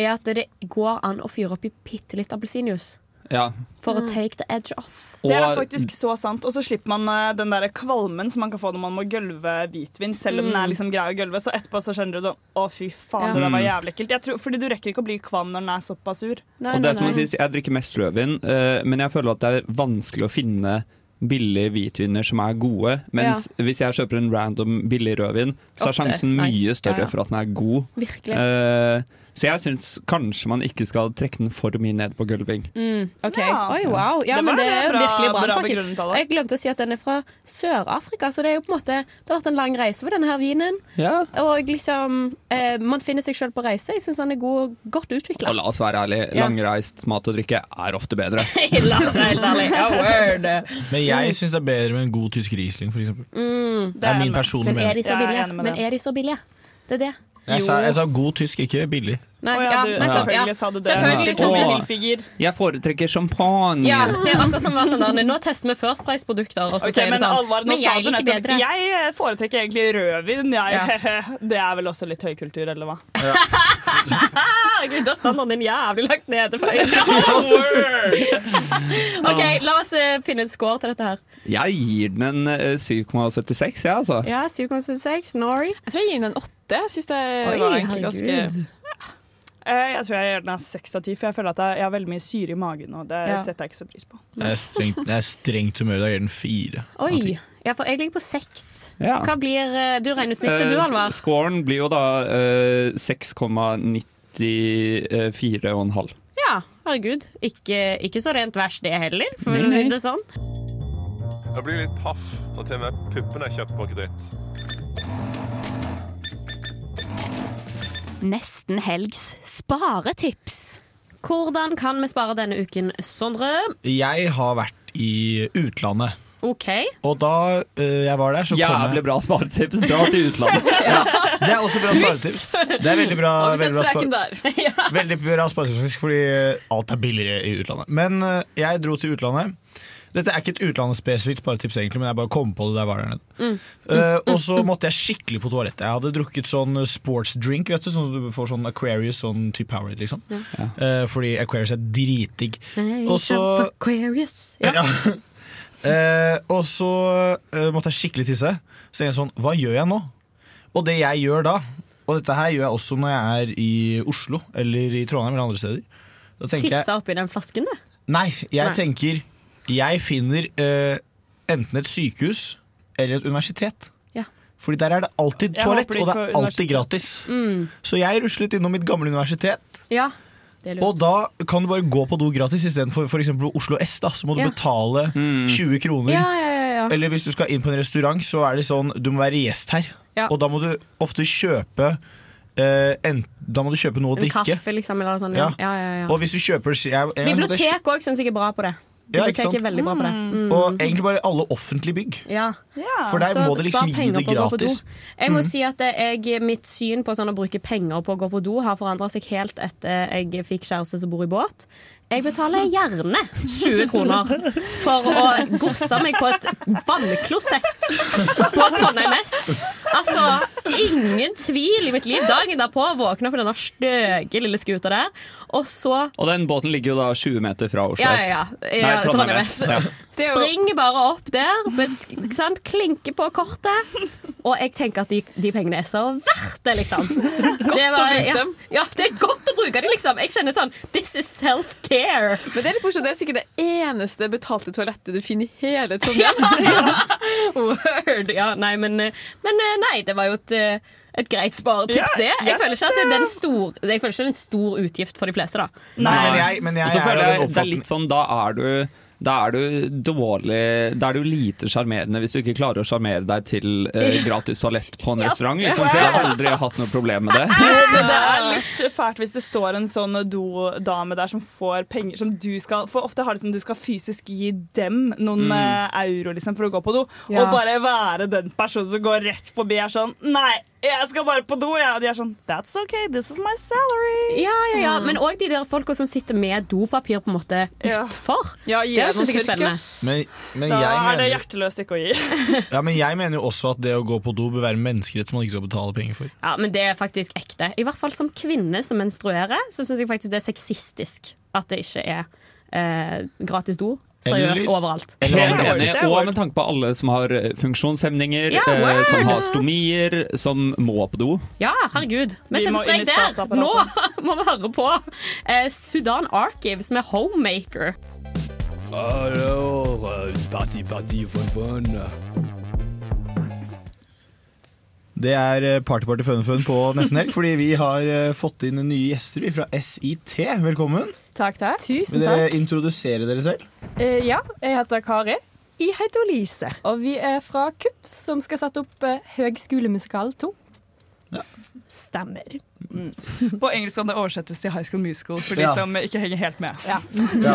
Speaker 2: er at det går an å fyre oppi bitte litt appelsinjuice
Speaker 3: Ja.
Speaker 2: for å take the edge off.
Speaker 6: Det er faktisk så sant. Og så slipper man eh, den der kvalmen som man kan få når man må gølve hvitvin. Selv om
Speaker 2: Mm.
Speaker 6: den er liksom grei å gølve, så etterpå så skjønner du sånn Å, fy faen,
Speaker 3: Ja.
Speaker 6: det der var
Speaker 3: Mm.
Speaker 6: jævlig ekkelt. Jeg tror, fordi du rekker ikke å bli kvalm når den er såpass
Speaker 2: (laughs)
Speaker 6: sur.
Speaker 3: og det er som å si, Jeg drikker mest rødvin, eh, men jeg føler at det er vanskelig å finne billige hvitviner som er gode. Mens hvis jeg kjøper en random billig rødvin, så er
Speaker 2: Ofte.
Speaker 3: sjansen mye
Speaker 2: Nice. Ja,
Speaker 3: større
Speaker 2: ja.
Speaker 3: for at den er god.
Speaker 2: Virkelig.
Speaker 3: Eh, så jeg syns kanskje man ikke skal trekke den for mye ned på gulving.
Speaker 2: Mm, ok,
Speaker 6: Ja.
Speaker 2: Oi, wow. ja,
Speaker 6: Det var
Speaker 2: men det er jo
Speaker 6: bra-
Speaker 2: virkelig
Speaker 6: bra
Speaker 2: brannfakkel.
Speaker 6: begrunnet,
Speaker 2: Og
Speaker 6: Tale.
Speaker 2: jeg glemte å si at den er fra Sør-Afrika, så det er jo på en måte Det har vært en lang reise for denne her vinen.
Speaker 3: Ja.
Speaker 2: Og liksom eh, Man finner seg sjøl på reise. Jeg syns den er god, godt utvikla.
Speaker 3: Og la oss være ærlige,
Speaker 2: Ja.
Speaker 3: langreist mat og drikke er ofte
Speaker 2: (laughs)
Speaker 3: bedre.
Speaker 2: La oss være helt ærlige. Ja, word.
Speaker 5: Men jeg syns det er bedre med en god tysk riesling, f.eks.
Speaker 2: Mm.
Speaker 5: Det er min personlige
Speaker 2: Men er de
Speaker 6: mening. Jeg
Speaker 2: så
Speaker 6: er
Speaker 2: billige?
Speaker 6: enig med
Speaker 2: Men
Speaker 6: det.
Speaker 2: er de så billige? Det er det.
Speaker 5: Jeg sa, jeg sa god tysk, ikke billig.
Speaker 2: Nei,
Speaker 6: Å ja,
Speaker 2: ja,
Speaker 6: du-
Speaker 2: men så-
Speaker 6: selvfølgelig
Speaker 2: ja.
Speaker 6: sa du det.
Speaker 2: Selvfølgelig
Speaker 6: Som
Speaker 2: så-
Speaker 6: en Hilfiger.
Speaker 3: Jeg foretrekker champagne.
Speaker 2: Ja, det er akkurat som var sånn der, Nå tester vi First Price-produkter, og så
Speaker 6: Ok,
Speaker 2: sier
Speaker 6: men
Speaker 2: du sånn
Speaker 6: alvor, nå
Speaker 2: Men
Speaker 6: sa
Speaker 2: jeg
Speaker 6: du
Speaker 2: liker
Speaker 6: nettopp-
Speaker 2: bedre.
Speaker 6: Jeg eh, foretrekker egentlig rødvin. Jeg, (laughs) Det er vel også litt høykultur, eller
Speaker 2: (laughs)
Speaker 6: hva?
Speaker 2: Gud, da er standarden din jævlig langt nede for øyet. (laughs) OK, la oss eh, finne et score til dette her.
Speaker 3: Jeg gir den en eh, 7,76, jeg, altså.
Speaker 2: Ja, 7,6. Nori?
Speaker 4: Jeg tror jeg gir den en åtte. Jeg syns det
Speaker 6: Oi,
Speaker 4: var egentlig ganske
Speaker 6: herregud. Eh, Jeg tror jeg gjør den av seks av ti, for jeg føler at jeg- jeg har veldig mye syre i magen. Og det
Speaker 2: Ja.
Speaker 6: setter jeg ikke så pris på.
Speaker 5: Jeg er strengt, jeg er strengt humør i dag. Jeg gir den fire.
Speaker 2: Oi. Ja, for jeg ligger på seks.
Speaker 3: Ja.
Speaker 2: Hva blir eh, Du regner ut snittet,
Speaker 3: Eh,
Speaker 2: du,
Speaker 3: s-
Speaker 2: Alvar.
Speaker 3: Scoren blir jo da eh, 6,94,5.
Speaker 2: Ja, herregud. Ikke, ikke så rent verst det heller, for
Speaker 3: Nei,
Speaker 2: å si
Speaker 3: nei.
Speaker 2: det sånn.
Speaker 20: Jeg blir litt paff når til og med puppene er kjøpt noe dritt.
Speaker 1: Nesten helgs sparetips.
Speaker 2: Hvordan kan vi spare denne uken, Sondre?
Speaker 5: Jeg har vært i utlandet.
Speaker 2: OK.
Speaker 5: Og da eh, jeg var der, så kom jeg
Speaker 3: Jævlig bra sparetips! Dra til utlandet.
Speaker 2: (laughs)
Speaker 5: Det er også bra sparetips. Det er veldig bra, veldig bra, spar veldig bra sparetips, faktisk, fordi eh, alt er billigere i utlandet. Men eh, jeg dro til utlandet. Dette er ikke et utlandsspesifikt sparetips, egentlig, men jeg bare kom på det da jeg var der nede. Eh, og så måtte jeg skikkelig på toalettet. Jeg hadde drukket sånn sportsdrink, vet du, sånn at du får sånn Aquarius, sånn type Powerade, liksom. Eh, fordi Aquarius er dritdigg. Og så
Speaker 2: Aquarius.
Speaker 5: Ja. (laughs) Eh, og så eh, måtte jeg skikkelig tisse. Så tenkte jeg sånn, hva gjør jeg nå? Og det jeg gjør da, og dette her gjør jeg også når jeg er i Oslo eller i Trondheim eller andre steder. Da tenker
Speaker 2: Tissa
Speaker 5: jeg,
Speaker 2: oppi den flasken, du.
Speaker 5: nei, jeg
Speaker 2: Nei.
Speaker 5: tenker jeg finner eh, enten et sykehus eller et universitet.
Speaker 2: Ja.
Speaker 5: Fordi der er det alltid
Speaker 2: Jeg
Speaker 5: toalett,
Speaker 2: håper de
Speaker 5: og det
Speaker 2: får
Speaker 5: er alltid gratis.
Speaker 2: Mm.
Speaker 5: Så jeg ruslet innom mitt gamle universitet.
Speaker 2: Ja. Det er
Speaker 5: Og
Speaker 2: lurt.
Speaker 5: da kan du bare gå på do gratis istedenfor f.eks. Oslo S. da Så må du
Speaker 2: Ja.
Speaker 5: betale 20 kroner.
Speaker 2: Ja, ja, ja, ja.
Speaker 5: Eller hvis du skal inn på en restaurant, så er det sånn du må være gjest her.
Speaker 2: Ja.
Speaker 5: Og da må du ofte kjøpe eh, en, Da må du kjøpe noe å
Speaker 2: En
Speaker 5: drikke.
Speaker 2: kaffe, liksom. Eller noe sånt. Ja. Ja, ja, ja.
Speaker 5: Og hvis du kjøper jeg, jeg, jeg-
Speaker 2: Bibliotek òg syns jeg er bra på det.
Speaker 5: Ja,
Speaker 2: Bibliotek
Speaker 5: ikke sant?
Speaker 2: er veldig bra på det. Mm.
Speaker 5: Og egentlig bare alle offentlige bygg.
Speaker 2: Ja.
Speaker 5: For der
Speaker 2: Så
Speaker 5: må du liksom
Speaker 2: spar
Speaker 5: gi
Speaker 2: penger
Speaker 5: det
Speaker 2: på å gå på
Speaker 5: gratis.
Speaker 2: do. Jeg må
Speaker 5: Mhm.
Speaker 2: si at eh, jeg, mitt syn på sånn å bruke penger på å gå på do har forandra seg helt etter jeg fikk kjæreste som bor i båt. Jeg betaler gjerne 20 kroner for å gosse meg på et vannklosett på Trondheim S. Altså, ingen tvil i mitt liv. Dagen derpå våkna på denne støge lille skuta der, og så
Speaker 3: Og den båten ligger jo da 20 meter fra Oslo
Speaker 2: Ja,
Speaker 3: S.
Speaker 2: ja, ja.
Speaker 3: Nei,
Speaker 2: Ja,
Speaker 3: Trondheim
Speaker 2: Trondheim
Speaker 3: S.
Speaker 2: S.
Speaker 5: (laughs)
Speaker 3: Ja.
Speaker 2: Spring bare opp der, men, ikke sant? klinke på kortet. Og jeg tenker at de, de pengene er så verdt det, (laughs) liksom. Det
Speaker 4: å bruke
Speaker 2: ja,
Speaker 4: dem.
Speaker 2: Ja, det er godt å bruke dem, liksom. Jeg kjenner sånn This is self-care.
Speaker 4: Men det er litt morsomt, det er sikkert det eneste betalte toalettet du finner i hele Trondheim.
Speaker 2: Word. Ja, nei, men, men nei, det var jo et eh, et greit sparetips,
Speaker 4: Ja,
Speaker 2: det. Jeg
Speaker 4: jeg
Speaker 2: føler
Speaker 4: synes
Speaker 2: ikke at det er en stor, jeg føler ikke det er en stor utgift for de fleste, da.
Speaker 5: Nei, men jeg- men jeg
Speaker 3: Og så
Speaker 5: er
Speaker 3: føler
Speaker 5: av den
Speaker 3: jeg det er litt sånn, da er du Da er du dårlig Da er du lite sjarmerende hvis du ikke klarer å sjarmere deg til
Speaker 2: (laughs)
Speaker 3: eh, gratis toalett på en
Speaker 6: Ja.
Speaker 3: restaurant. Liksom, for jeg har aldri hatt noe problem
Speaker 2: (laughs)
Speaker 3: med det.
Speaker 6: Jo, men det (laughs) er litt fælt hvis det står en sånn dodame der som får penger som du skal For ofte har det sånn du skal fysisk gi dem noen
Speaker 21: Mm.
Speaker 6: eh, euro liksom, for å gå på do,
Speaker 21: Ja.
Speaker 6: og bare være den personen som går rett forbi er sånn Nei, jeg skal bare på do, jeg. Og de er sånn That's okay, this is my salary.
Speaker 2: Ja, ja, ja. Men òg de der folka som sitter med dopapir på en måte utfor.
Speaker 4: Ja,
Speaker 6: gi
Speaker 2: det
Speaker 6: dem
Speaker 2: syns jeg
Speaker 6: noe
Speaker 2: er spennende.
Speaker 5: Men, men
Speaker 6: da
Speaker 5: jeg
Speaker 6: er det
Speaker 5: mener,
Speaker 6: hjerteløst ikke å gi.
Speaker 5: ja, men jeg mener jo også at det å gå på do bør være menneskerett som man ikke skal betale penger for.
Speaker 2: Ja, Men det er faktisk ekte. I hvert fall som kvinne som menstruerer, så syns jeg faktisk det er sexistisk at det ikke er eh, gratis do. Seriøst
Speaker 3: Eller-
Speaker 2: overalt.
Speaker 3: Helt
Speaker 2: Ja.
Speaker 3: enig. Og med tanke på alle som har eh, funksjonshemninger,
Speaker 2: Ja,
Speaker 3: eh,
Speaker 2: word.
Speaker 3: som har stomier, som må på do.
Speaker 2: Ja, herregud. Vi
Speaker 6: Vi
Speaker 2: setter
Speaker 6: må inn i
Speaker 2: strek der. Nå (laughs)
Speaker 6: statsapparatet.
Speaker 2: må vi høre på eh, Sudan Archives med Homemaker.
Speaker 22: Alors, euh, c'est parti, parti, fun, fun.
Speaker 5: Det er eh, Party Party Fun Fun på nesten helg, fordi vi har eh, fått inn nye gjester vi, fra SIT. Velkommen.
Speaker 7: Takk, takk. Tusen
Speaker 5: Vil dere
Speaker 7: takk.
Speaker 5: introdusere dere selv?
Speaker 7: Eh, ja, jeg heter Kari. Jeg heter Elise. Og vi er fra KUP, som skal sette opp eh, Høgskolemusikal 2.
Speaker 6: Stemmer. På engelsk kan det oversettes til High School Musical for de
Speaker 5: Ja.
Speaker 6: som ikke henger helt med.
Speaker 5: Ja,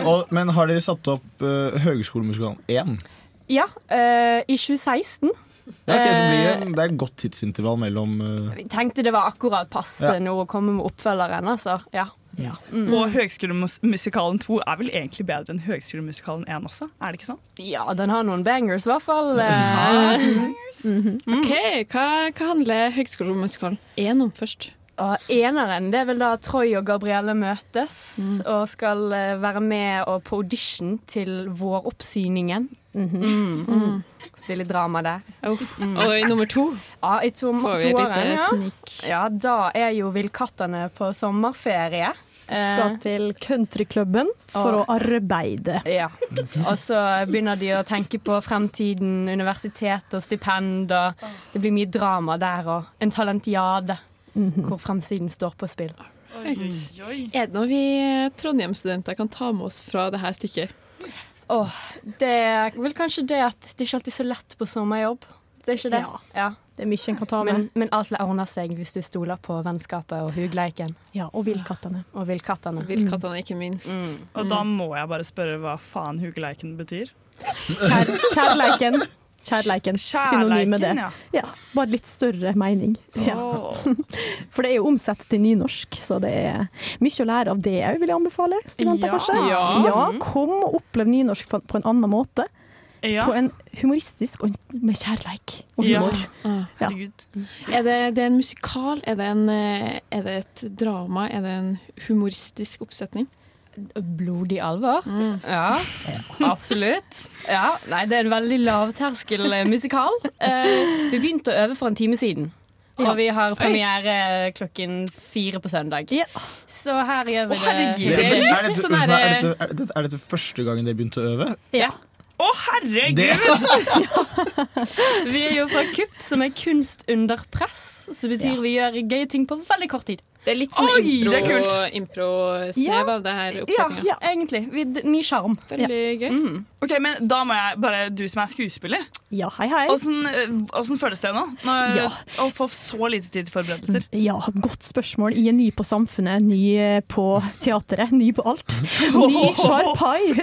Speaker 5: og, men har dere satt opp uh, Høgskolemusikalen 1?
Speaker 7: Ja, eh, i 2016.
Speaker 5: Det er, ok, så blir det,
Speaker 7: Eh,
Speaker 5: en, det er et godt tidsintervall mellom eh,
Speaker 7: jeg tenkte det var akkurat passe
Speaker 5: Ja.
Speaker 7: nå å komme med oppfølgeren, altså. Ja. Mm.
Speaker 6: Og Høgskolemusikalen 2 er vel egentlig bedre enn Høgskolemusikalen 1 også? Er det ikke sånn?
Speaker 7: ja, den har noen bangers, i hvert fall.
Speaker 6: har
Speaker 7: Eh,
Speaker 4: OK, hva, hva handler Høgskolemusikalen 1 om først?
Speaker 7: Og eneren, det er vel da Troy og Gabrielle møtes
Speaker 4: Mhm.
Speaker 7: og skal eh, være med og på audition til våroppsyningen. Mm.
Speaker 4: Mm.
Speaker 7: Det blir litt drama der. Mm.
Speaker 4: Og i nummer to
Speaker 7: Ja, i to,
Speaker 4: Får vi et
Speaker 7: toåren,
Speaker 4: lite
Speaker 7: ja.
Speaker 4: sneak.
Speaker 7: Ja, da er jo villkattene på sommerferie. Eh,
Speaker 23: Skal til countryklubben for å arbeide.
Speaker 7: Ja. Og så begynner de å tenke på fremtiden, universitet og stipend, og det blir mye drama der og en talentiade hvor fremtiden står på spill.
Speaker 4: Er det noe vi eh, Trondheim-studenter kan ta med oss fra det her stykket?
Speaker 7: Åh, det er vel kanskje det at det ikke alltid er så lett på sommerjobb. Det er ikke det?
Speaker 23: Ja.
Speaker 7: Det er mye en kan ta med. Men, men alt ordner seg hvis du stoler på vennskapet og hugleiken.
Speaker 23: Ja, og villkattene.
Speaker 7: Og villkattene. Mm.
Speaker 4: Villkattene, ikke minst.
Speaker 6: Og da må jeg bare spørre hva faen hugeleiken betyr.
Speaker 23: Kjær, kjærleiken. Kjærleiken. Synonym med det.
Speaker 6: Kjærleiken, ja.
Speaker 23: Ja, bare litt større mening. Ja. For det er jo omsatt til nynorsk, så det er mye å lære av det òg, vil jeg anbefale studenter,
Speaker 6: Ja.
Speaker 23: kanskje.
Speaker 6: Ja.
Speaker 23: kom og opplev nynorsk på, på en annen måte.
Speaker 6: Ja.
Speaker 23: På en humoristisk og med kjærleik og
Speaker 4: Ja.
Speaker 23: humor.
Speaker 4: Ah.
Speaker 23: Ja.
Speaker 4: Er det, det er en musikal? Er det, en, eh, er det et drama? Er det en humoristisk oppsetning?
Speaker 7: Blodig alvor. Ja, absolutt. Ja, nei, det er en veldig lavterskelmusikal. Eh, vi begynte å øve for en time siden. Og
Speaker 23: Ja.
Speaker 7: vi har premiere klokken fire på søndag. Så her gjør vi
Speaker 6: Å,
Speaker 7: det.
Speaker 6: herregud.
Speaker 5: Det-
Speaker 7: litt
Speaker 5: er dette-
Speaker 7: sånn
Speaker 5: unnskyld meg, er
Speaker 7: her-
Speaker 5: dette- er dette- Er dette første gangen dere begynte å øve?
Speaker 7: Ja.
Speaker 6: Å, herregud!
Speaker 7: Vi er jo fra KUP, som er kunst under press. Som betyr vi gjør gøye ting på veldig kort tid.
Speaker 4: Det er litt sånn
Speaker 7: Oi, det er
Speaker 4: impro-
Speaker 7: kult.
Speaker 4: impro-snev av det her oppsetninga.
Speaker 7: Ja, ja, egentlig. Vi, det- ny Mm. sjarm.
Speaker 4: Veldig gøy.
Speaker 6: Ok, men Da må jeg bare Du som er skuespiller.
Speaker 23: Ja, hei, hei.
Speaker 6: Åssen åssen føles det nå? Når,
Speaker 23: Ja.
Speaker 6: Å få så lite tid til forberedelser.
Speaker 23: Ja, godt spørsmål. Jeg er ny på samfunnet, ny eh, på teateret, ny
Speaker 6: (laughs)
Speaker 23: på alt. Ny sharpai.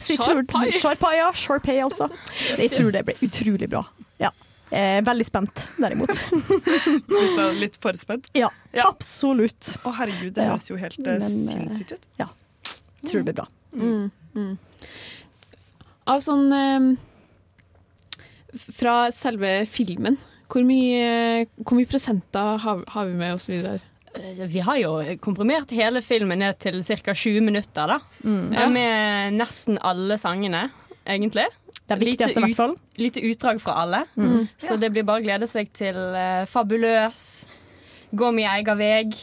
Speaker 23: Så jeg tror-
Speaker 4: Sharpai?
Speaker 23: Sharpai, ja. Sharpai, altså. Jeg tror det blir utrolig bra. Ja. Eh, veldig spent,
Speaker 6: (laughs)
Speaker 23: derimot.
Speaker 6: Litt, så- litt forspent.
Speaker 23: Ja, absolutt.
Speaker 6: Å, herregud, det
Speaker 23: Ja.
Speaker 6: høres jo helt eh,
Speaker 23: Men, eh,
Speaker 6: sinnssykt ut.
Speaker 23: Ja. Tror det blir bra.
Speaker 4: Mm. Mm. Av sånn eh, f- Fra selve filmen, hvor mye, hvor mye prosenter har, har vi med oss videre?
Speaker 7: Eh, Vi har jo komprimert hele filmen ned til ca. 20 minutter, da.
Speaker 23: Mm.
Speaker 7: Eh, Med nesten alle sangene, egentlig.
Speaker 23: Det er viktigste, i hvert fall.
Speaker 7: Lite utdrag fra alle.
Speaker 23: Mm.
Speaker 7: Så det blir bare å glede seg til eh, Fabuløs, Gå mi eiga veg,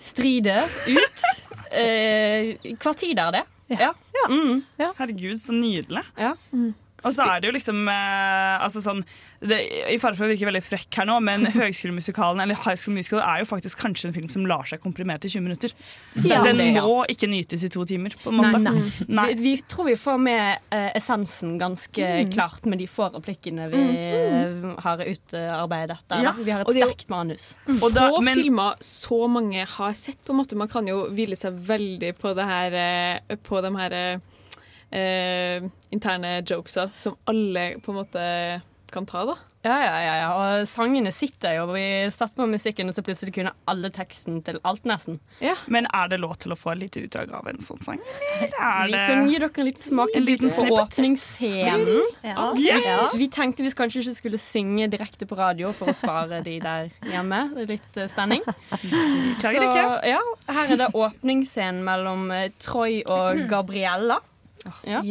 Speaker 7: Stride,
Speaker 4: (laughs)
Speaker 7: Ut. Eh, hva tid er det? Ja.
Speaker 23: Mm.
Speaker 6: Herregud, så nydelig.
Speaker 7: Ja.
Speaker 6: Og så er det jo liksom eh, altså sånn, det, I fare for å virke veldig frekk her nå, men Høgskolemusikalen eller High School Musical er jo faktisk kanskje en film som lar seg komprimere til 20 minutter.
Speaker 7: Ja.
Speaker 6: Den
Speaker 7: Det, ja.
Speaker 6: må ikke nytes i to timer, på en måte.
Speaker 7: Nei, nei.
Speaker 6: Nei.
Speaker 7: Vi, vi tror vi får med eh, essensen ganske
Speaker 6: Mm.
Speaker 7: klart med de få replikkene vi eh, har utarbeidet der.
Speaker 4: Mm. Ja,
Speaker 7: da. Vi har
Speaker 4: og
Speaker 7: et
Speaker 4: det er jo-
Speaker 7: sterkt manus.
Speaker 4: Få filmer så mange har sett. på en måte Man kan jo hvile seg veldig på det her eh, På de her eh, interne jokesa som alle på en måte kan ta, da.
Speaker 7: Ja, ja, ja, ja. Og sangene sitter jo. Vi satte på musikken, og så plutselig kunne alle teksten til alt, nesten.
Speaker 6: Men er det lov til å få et lite utdrag av en sånn sang? Eller er
Speaker 7: Vi
Speaker 6: det
Speaker 7: kan gi dere en liten smak
Speaker 4: Mm.
Speaker 6: En liten
Speaker 7: på
Speaker 6: snippet.
Speaker 7: åpningsscenen.
Speaker 6: Ja.
Speaker 7: Vi-
Speaker 6: Yes!
Speaker 7: Vi tenkte vi kanskje ikke skulle synge direkte på radio for å spare de der hjemme. Det er litt eh, spenning. Så
Speaker 6: Beklager ikke.
Speaker 7: ja, her er det åpningsscenen mellom eh, Troy og Gabriella. Ja.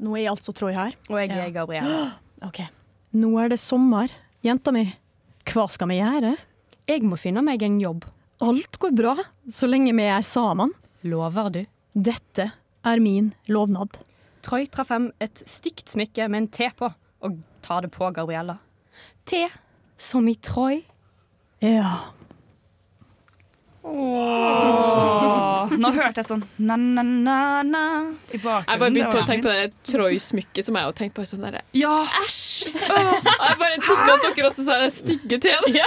Speaker 24: Nå er jeg altså Troy her.
Speaker 7: Og jeg er Gabriella.
Speaker 24: Ok. Nå er det sommer. Jenta mi, hva skal vi gjøre?
Speaker 7: Jeg må finne meg en jobb.
Speaker 24: Alt går bra, så lenge vi er sammen.
Speaker 7: Lover du?
Speaker 24: Dette er min lovnad.
Speaker 7: Troy tar frem et stygt smykke med en T på, og tar det på Gabriella. T som i Troy.
Speaker 24: Ja.
Speaker 6: Åh, Nå hørte jeg sånn na-na-na-na i bakgrunnen.
Speaker 4: Jeg bare begynte
Speaker 6: Det
Speaker 4: på
Speaker 6: var
Speaker 4: å tenke på
Speaker 6: fint.
Speaker 4: det der Troy-smykket som jeg har tenkt på. Sånn der,
Speaker 6: Ja!
Speaker 4: Æsj! Åh, Jeg bare tenker at dere også sa det stygge til det.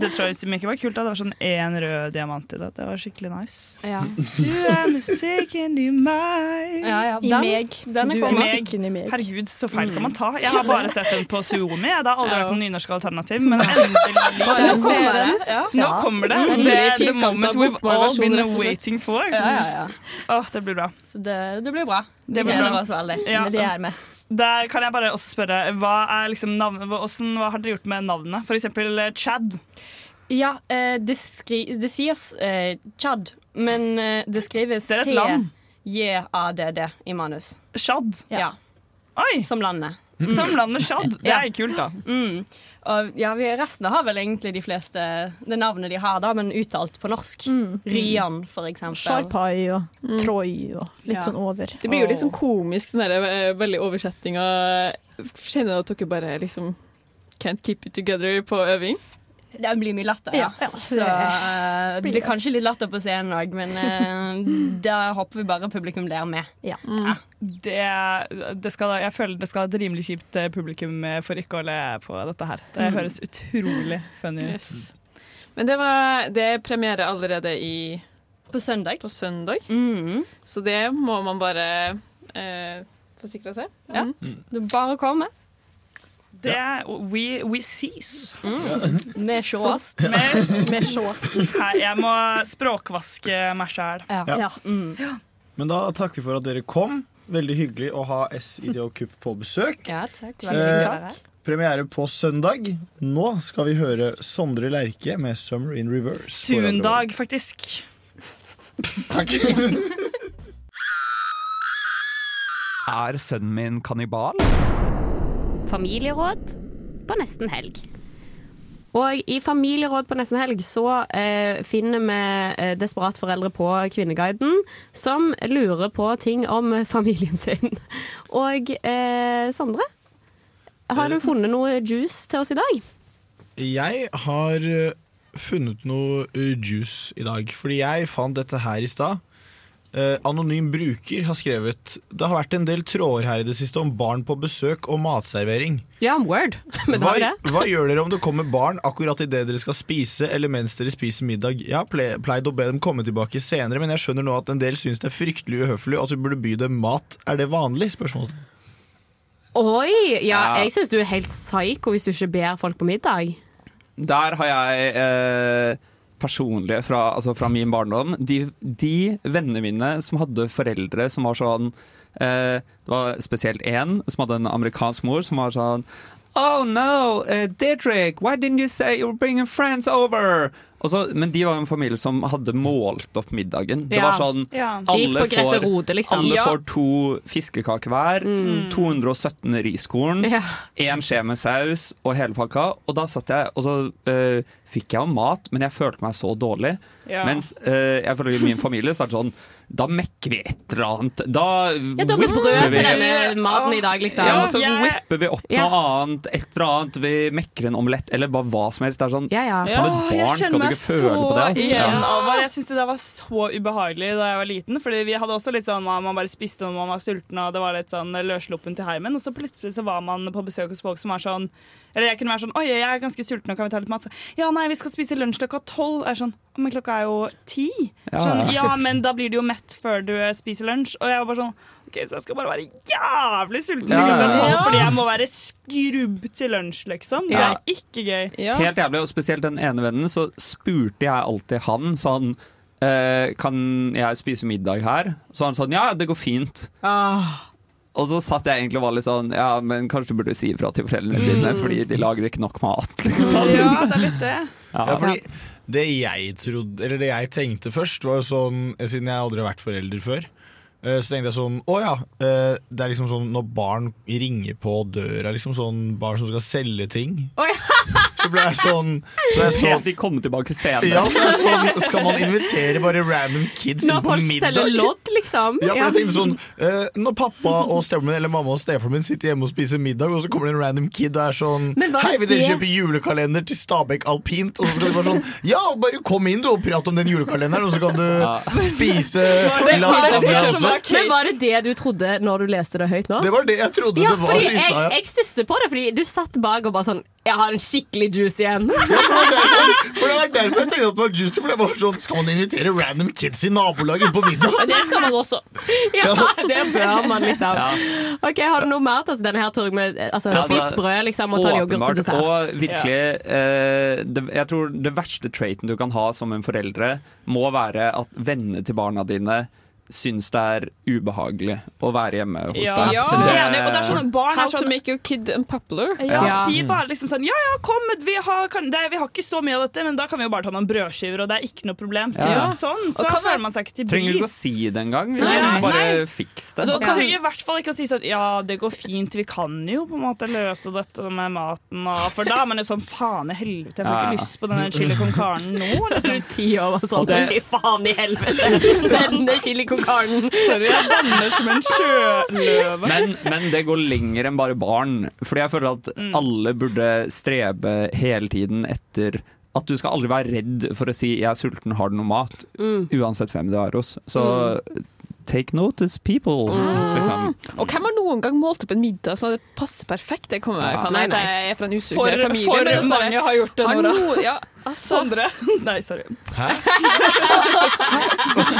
Speaker 6: Det tror jeg som ikke var kult. Da. Det var sånn én rød diamant i det. Det var skikkelig nice.
Speaker 7: Ja.
Speaker 6: Du er musikken i meg.
Speaker 7: Ja, ja,
Speaker 6: I
Speaker 7: den-
Speaker 6: meg.
Speaker 7: den er
Speaker 6: du er
Speaker 7: kommet.
Speaker 6: meg.
Speaker 7: Musikken i meg.
Speaker 6: Herregud, så feil kan man ta. Jeg har bare sett den på Suomi. Jeg. Det har aldri vært noe nynorsk alternativ, men endelig
Speaker 4: Bare
Speaker 6: Nå
Speaker 4: se
Speaker 6: kommer
Speaker 4: den.
Speaker 6: den.
Speaker 4: Ja.
Speaker 6: Nå kommer det.
Speaker 4: Mm.
Speaker 6: Det er the
Speaker 4: Firkantet
Speaker 6: moment we've all
Speaker 4: bokmålversjon,
Speaker 6: been
Speaker 4: rett og slett.
Speaker 6: waiting for.
Speaker 4: Ja, ja, ja.
Speaker 6: Åh, det blir bra.
Speaker 7: Så det, det blir bra.
Speaker 6: Det blir
Speaker 7: gleder
Speaker 6: bra.
Speaker 7: oss veldig.
Speaker 6: Ja. Der kan jeg bare også spørre, hva, er liksom navn, hva, hvordan, hva har dere gjort med navnet? For eksempel eh, Chad.
Speaker 7: Ja, eh, det, skri det sies eh, Chad, men eh, det skrives
Speaker 6: Det er et land.
Speaker 7: T-J-A-D-D i manus.
Speaker 6: Chad?
Speaker 7: Ja. Som landet. Mm.
Speaker 6: Som landet Chad. Det er kult, da.
Speaker 7: Mm. Og ja, vi, resten har vel egentlig de fleste det navnet de har, da, men uttalt på norsk. Rian, for eksempel.
Speaker 24: Sharpai og
Speaker 7: Mm.
Speaker 24: Troy og litt
Speaker 7: Ja.
Speaker 24: sånn over.
Speaker 4: Det blir jo liksom komisk, den der eh, veldig oversettinga. Kjenner dere at dere bare liksom Can't keep it together på øving?
Speaker 7: Det blir mye latter, ja.
Speaker 4: Ja, ja.
Speaker 7: Så eh, det
Speaker 4: Blir
Speaker 7: blir
Speaker 4: det.
Speaker 7: kanskje litt latter på scenen òg, men eh, da håper vi bare publikum ler med.
Speaker 6: Mm. Det, det skal, jeg føler det skal ha et rimelig kjipt eh, publikum eh, for ikke å le på dette her. Det
Speaker 4: Mm.
Speaker 6: høres utrolig funny ut.
Speaker 4: Yes. Men det, var, det er premiere allerede i
Speaker 7: På søndag.
Speaker 4: På søndag. Mm. Så det må man bare eh, forsikre seg. Ja.
Speaker 7: Mm. Det er bare å komme.
Speaker 6: Det er We, we sees.
Speaker 7: Mm. Med sjås.
Speaker 6: Med,
Speaker 7: med sjås.
Speaker 6: Her, jeg må språkvaske meg sjæl.
Speaker 5: Ja. Ja. Men da takker vi for at dere kom. Veldig hyggelig å ha SIDO Cup på besøk.
Speaker 7: Ja, takk.
Speaker 5: Eh, Premiere på søndag. Nå skal vi høre Sondre Lerche med 'Summer in Reverse'.
Speaker 6: Sundag, faktisk.
Speaker 5: Takk.
Speaker 3: Er sønnen min kannibal?
Speaker 2: Familieråd på nesten helg. Og i Familieråd på nesten helg så eh, finner vi eh, desperat foreldre på Kvinneguiden som lurer på ting om familien sin. Og eh, Sondre, har du funnet noe juice til oss i dag?
Speaker 5: (laughs) Jeg har eh, funnet noe eh, juice i dag, fordi jeg fant dette her i stad. Eh, Anonym bruker har skrevet Det har vært en del tråder her i det siste om barn på besøk og matservering.
Speaker 2: Ja, word. (laughs) Men det
Speaker 5: Hva,
Speaker 2: var det.
Speaker 5: hva gjør dere om det kommer barn akkurat idet dere skal spise, eller mens dere spiser middag? Jeg har ple- pleid å be dem komme tilbake senere, men jeg skjønner nå at en del syns det er fryktelig uhøflig og at vi burde by dem mat. Er det vanlig? Spørsmål.
Speaker 2: Oi! Ja,
Speaker 3: Ja.
Speaker 2: jeg syns du er helt psycho hvis du ikke ber folk på middag.
Speaker 3: Der har jeg eh, personlige fra, altså fra min barndom de, de vennene mine som hadde foreldre som var sånn eh, Det var spesielt én som hadde en amerikansk mor som var sånn Oh no, eh, Didrik, why didn't you say you were bringing friends over? Og så, men de var jo en familie som hadde målt opp middagen. Det
Speaker 2: Ja.
Speaker 3: var sånn
Speaker 2: Ja. De gikk
Speaker 3: Alle,
Speaker 2: på Grete
Speaker 3: får,
Speaker 2: Rode, liksom.
Speaker 3: alle
Speaker 2: Ja.
Speaker 3: får to fiskekaker hver,
Speaker 2: Mm.
Speaker 3: 217 riskorn,
Speaker 2: Ja.
Speaker 3: én skje med saus og hele pakka. Og da satt jeg, og så eh, fikk jeg jo mat, men jeg følte meg så dårlig.
Speaker 6: Ja.
Speaker 3: Mens eh, jeg føler i min familie så er det sånn da mekker vi et eller annet. Da
Speaker 2: Ja, da blir
Speaker 3: whipper
Speaker 2: brød
Speaker 3: vi-
Speaker 2: til denne maten i dag, liksom.
Speaker 3: Ja, så
Speaker 2: Yeah.
Speaker 3: whipper vi opp noe annet, et eller annet. Vi mekker en omelett, eller bare hva som helst. Det er sånn,
Speaker 2: Ja, ja.
Speaker 3: Som
Speaker 6: Åh,
Speaker 3: et
Speaker 6: jeg
Speaker 3: barn skal
Speaker 6: kjenner
Speaker 3: du
Speaker 6: meg
Speaker 3: ikke føle på det.
Speaker 6: Så
Speaker 3: altså. ass.
Speaker 6: igjen,
Speaker 3: Ja.
Speaker 6: Alvar. Jeg syns det der var så ubehagelig da jeg var liten. Fordi vi hadde også litt sånn man man bare spiste når man var sulten, og det var litt sånn løssluppen til heimen. Og så plutselig så var man på besøk hos folk som var sånn Eller jeg kunne være sånn Oi, jeg er ganske sulten, og kan vi ta litt mat? Så, Ja, nei, vi skal spise lunsj klokka tolv. Jeg er sånn «Å, Men klokka er jo ti.
Speaker 3: Ja.
Speaker 6: Sånn, ja, men da blir du jo mett før du eh, spiser lunsj. Og jeg var bare sånn OK, så jeg skal bare være jævlig sulten til
Speaker 3: Ja, ja,
Speaker 6: klokka
Speaker 3: ja.
Speaker 6: tolv,
Speaker 3: Ja.
Speaker 6: fordi jeg må være skrubb til lunsj, liksom. Det
Speaker 3: Ja.
Speaker 6: er ikke gøy.
Speaker 3: Helt jævlig, og spesielt den ene vennen, så spurte jeg alltid han sånn eh, Kan jeg spise middag her? Så han sånn, ja, det går fint. Og så satt jeg egentlig og var litt sånn Ja, men kanskje du burde si ifra til foreldrene dine, fordi de lager ikke nok mat. Liksom.
Speaker 6: Ja, det er litt det.
Speaker 5: Ja, fordi det jeg, trodde, eller det jeg tenkte først, var jo sånn Siden jeg aldri har vært forelder før, eh, så tenkte jeg sånn Å ja. eh, Det er liksom sånn når barn ringer på døra, liksom sånn barn som skal selge ting. Så ble jeg sånn, så
Speaker 3: (laughs)
Speaker 5: jeg så
Speaker 3: Helt til de kommer tilbake senere.
Speaker 5: ja, så jeg sånn, Skal man invitere bare random kids inn
Speaker 2: Når
Speaker 5: på
Speaker 2: folk
Speaker 5: middag?
Speaker 2: selger lodd, liksom.
Speaker 5: Ja, for jeg tenkte sånn eh, Når pappa og stemoren min eller mamma og stefaren min sitter hjemme og spiser middag, og så kommer det en random kid og er sånn
Speaker 2: Men var det
Speaker 5: Hei, vil dere
Speaker 2: det-
Speaker 5: kjøpe julekalender til Stabekk alpint? Og så skal du bare sånn Ja, bare kom inn du og prat om den julekalenderen, og så kan du spise
Speaker 2: Var det-
Speaker 5: Lars
Speaker 2: var det det
Speaker 5: Stabæk
Speaker 2: som
Speaker 5: også.
Speaker 2: var casen? Men var det det du trodde når du leste det høyt nå?
Speaker 5: Det var det jeg trodde
Speaker 2: ja,
Speaker 5: det var
Speaker 2: Fordi
Speaker 5: i stad, ja.
Speaker 2: jeg, jeg stusser på det, fordi du satt bak og bare sånn Jeg har en skikkelig juice
Speaker 5: (laughs)
Speaker 2: igjen.
Speaker 5: (laughs)
Speaker 2: (laughs)
Speaker 5: For det var derfor jeg tenkte at det var juicy, for det var sånn Skal man invitere random kids i nabolaget inn på middag?
Speaker 2: Ja, det skal man også. Ja, det bør man, liksom.
Speaker 5: Ja.
Speaker 2: Ok, Har du noe mer til oss i denne her turen med altså,
Speaker 3: Ja, altså,
Speaker 2: spis brød, liksom, og ta yoghurt
Speaker 3: Åpenbart,
Speaker 2: til dessert?
Speaker 3: Og virkelig, eh, det, jeg tror det verste traiten du kan ha som en foreldre, må være at vennene til barna dine syns det er ubehagelig å være hjemme hos
Speaker 6: Ja,
Speaker 3: deg.
Speaker 6: ja,
Speaker 3: Så det-
Speaker 6: enig, og det er sånn- barn er
Speaker 4: How
Speaker 6: sånn-
Speaker 4: to make your kid unpopular.
Speaker 6: Ja,
Speaker 3: Ja.
Speaker 6: Si bare liksom sånn Ja ja, kom, vi har, kan, det, vi har ikke så mye av dette, men da kan vi jo bare ta noen brødskiver, og det er ikke noe problem. Si
Speaker 3: Ja.
Speaker 6: det sånn, så
Speaker 3: Og kan
Speaker 6: føler man seg ikke til
Speaker 3: Trenger du
Speaker 6: bry.
Speaker 3: ikke å si det engang?
Speaker 6: Nei, nei,
Speaker 3: Liksom,
Speaker 6: nei.
Speaker 3: bare fiks det.
Speaker 6: Og Da trenger du i hvert fall ikke å si sånn Ja, det går fint, vi kan jo på en måte løse dette med maten, og For da er man jo sånn faen i helvete, jeg får
Speaker 3: Ja, ja.
Speaker 6: ikke lyst på denne chili con carnen nå. Liksom.
Speaker 2: Du ti år og
Speaker 6: Og
Speaker 2: sånn.
Speaker 6: det-
Speaker 2: Fy faen i helvete! Denne chili con carnen.
Speaker 6: Sorry, jeg banner som en sjøløve.
Speaker 3: Men, men det går lenger enn bare barn. Fordi jeg føler at
Speaker 6: Mm.
Speaker 3: alle burde strebe hele tiden etter at du skal aldri være redd for å si 'jeg er sulten, har du noe mat?'
Speaker 4: Mm.
Speaker 3: Uansett hvem du er hos. Så
Speaker 6: Mm.
Speaker 3: take notice, people. Liksom.
Speaker 4: Og hvem har noen gang målt opp en middag sånn at det passer perfekt? Det kommer jeg
Speaker 3: Ja.
Speaker 4: kan
Speaker 3: Nei,
Speaker 4: hete. Jeg er fra en usukker
Speaker 6: For,
Speaker 4: familie.
Speaker 6: for
Speaker 4: men så er det-
Speaker 6: mange har gjort det,
Speaker 4: Har
Speaker 6: Nora.
Speaker 4: noen- ja, altså.
Speaker 6: Sondre. (laughs) Nei, sorry.
Speaker 5: Hæ?
Speaker 6: (laughs)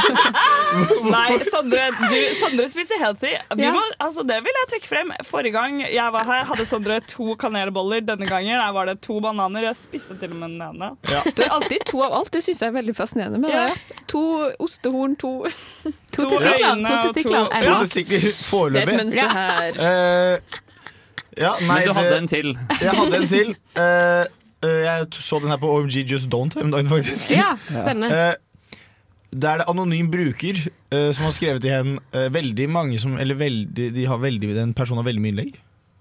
Speaker 6: Nei, Sondre, du, Sondre spiser healthy. Vi
Speaker 4: Ja.
Speaker 6: må, altså, det vil jeg trekke frem. Forrige gang jeg var her, hadde Sondre to kanelboller. Denne gangen her var det to bananer. Jeg spiste til og med den ene.
Speaker 4: Du er alltid to av alt. Det syns jeg er veldig fascinerende med
Speaker 6: Ja.
Speaker 4: det. To ostehorn, to
Speaker 6: To testikler, øyne to og testikler, to- er
Speaker 5: To testikler
Speaker 4: Det er et
Speaker 5: foreløpig.
Speaker 4: mønster her.
Speaker 5: Eh, ja, nei,
Speaker 3: Men du hadde
Speaker 5: det-
Speaker 3: en
Speaker 6: (laughs)
Speaker 3: til.
Speaker 5: Jeg hadde en til. Eh, eh, jeg t- så den her på OMG Just Don't her om dagen, faktisk.
Speaker 2: Ja, spennende.
Speaker 5: Eh, det er det anonym bruker eh, som har skrevet igjen eh, veldig mange som Eller veldig, de har veldig, den personen har veldig mye innlegg.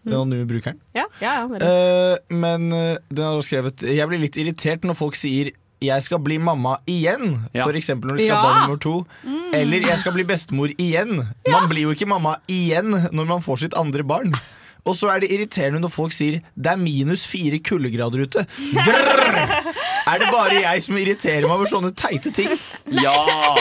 Speaker 5: Den anonyme brukeren.
Speaker 2: Ja, ja, ja, veldig.
Speaker 5: Eh, men eh, den har skrevet Jeg blir litt irritert når folk sier 'jeg skal bli mamma igjen'. For eksempel når de skal ha
Speaker 2: Ja.
Speaker 5: barn nummer to. Eller 'jeg skal bli bestemor igjen'. Man blir jo ikke mamma igjen når man får sitt andre barn. Og så er det irriterende når folk sier 'det er minus fire kuldegrader ute'. Brrr! Er det bare jeg som irriterer meg over sånne teite ting?
Speaker 3: Ja!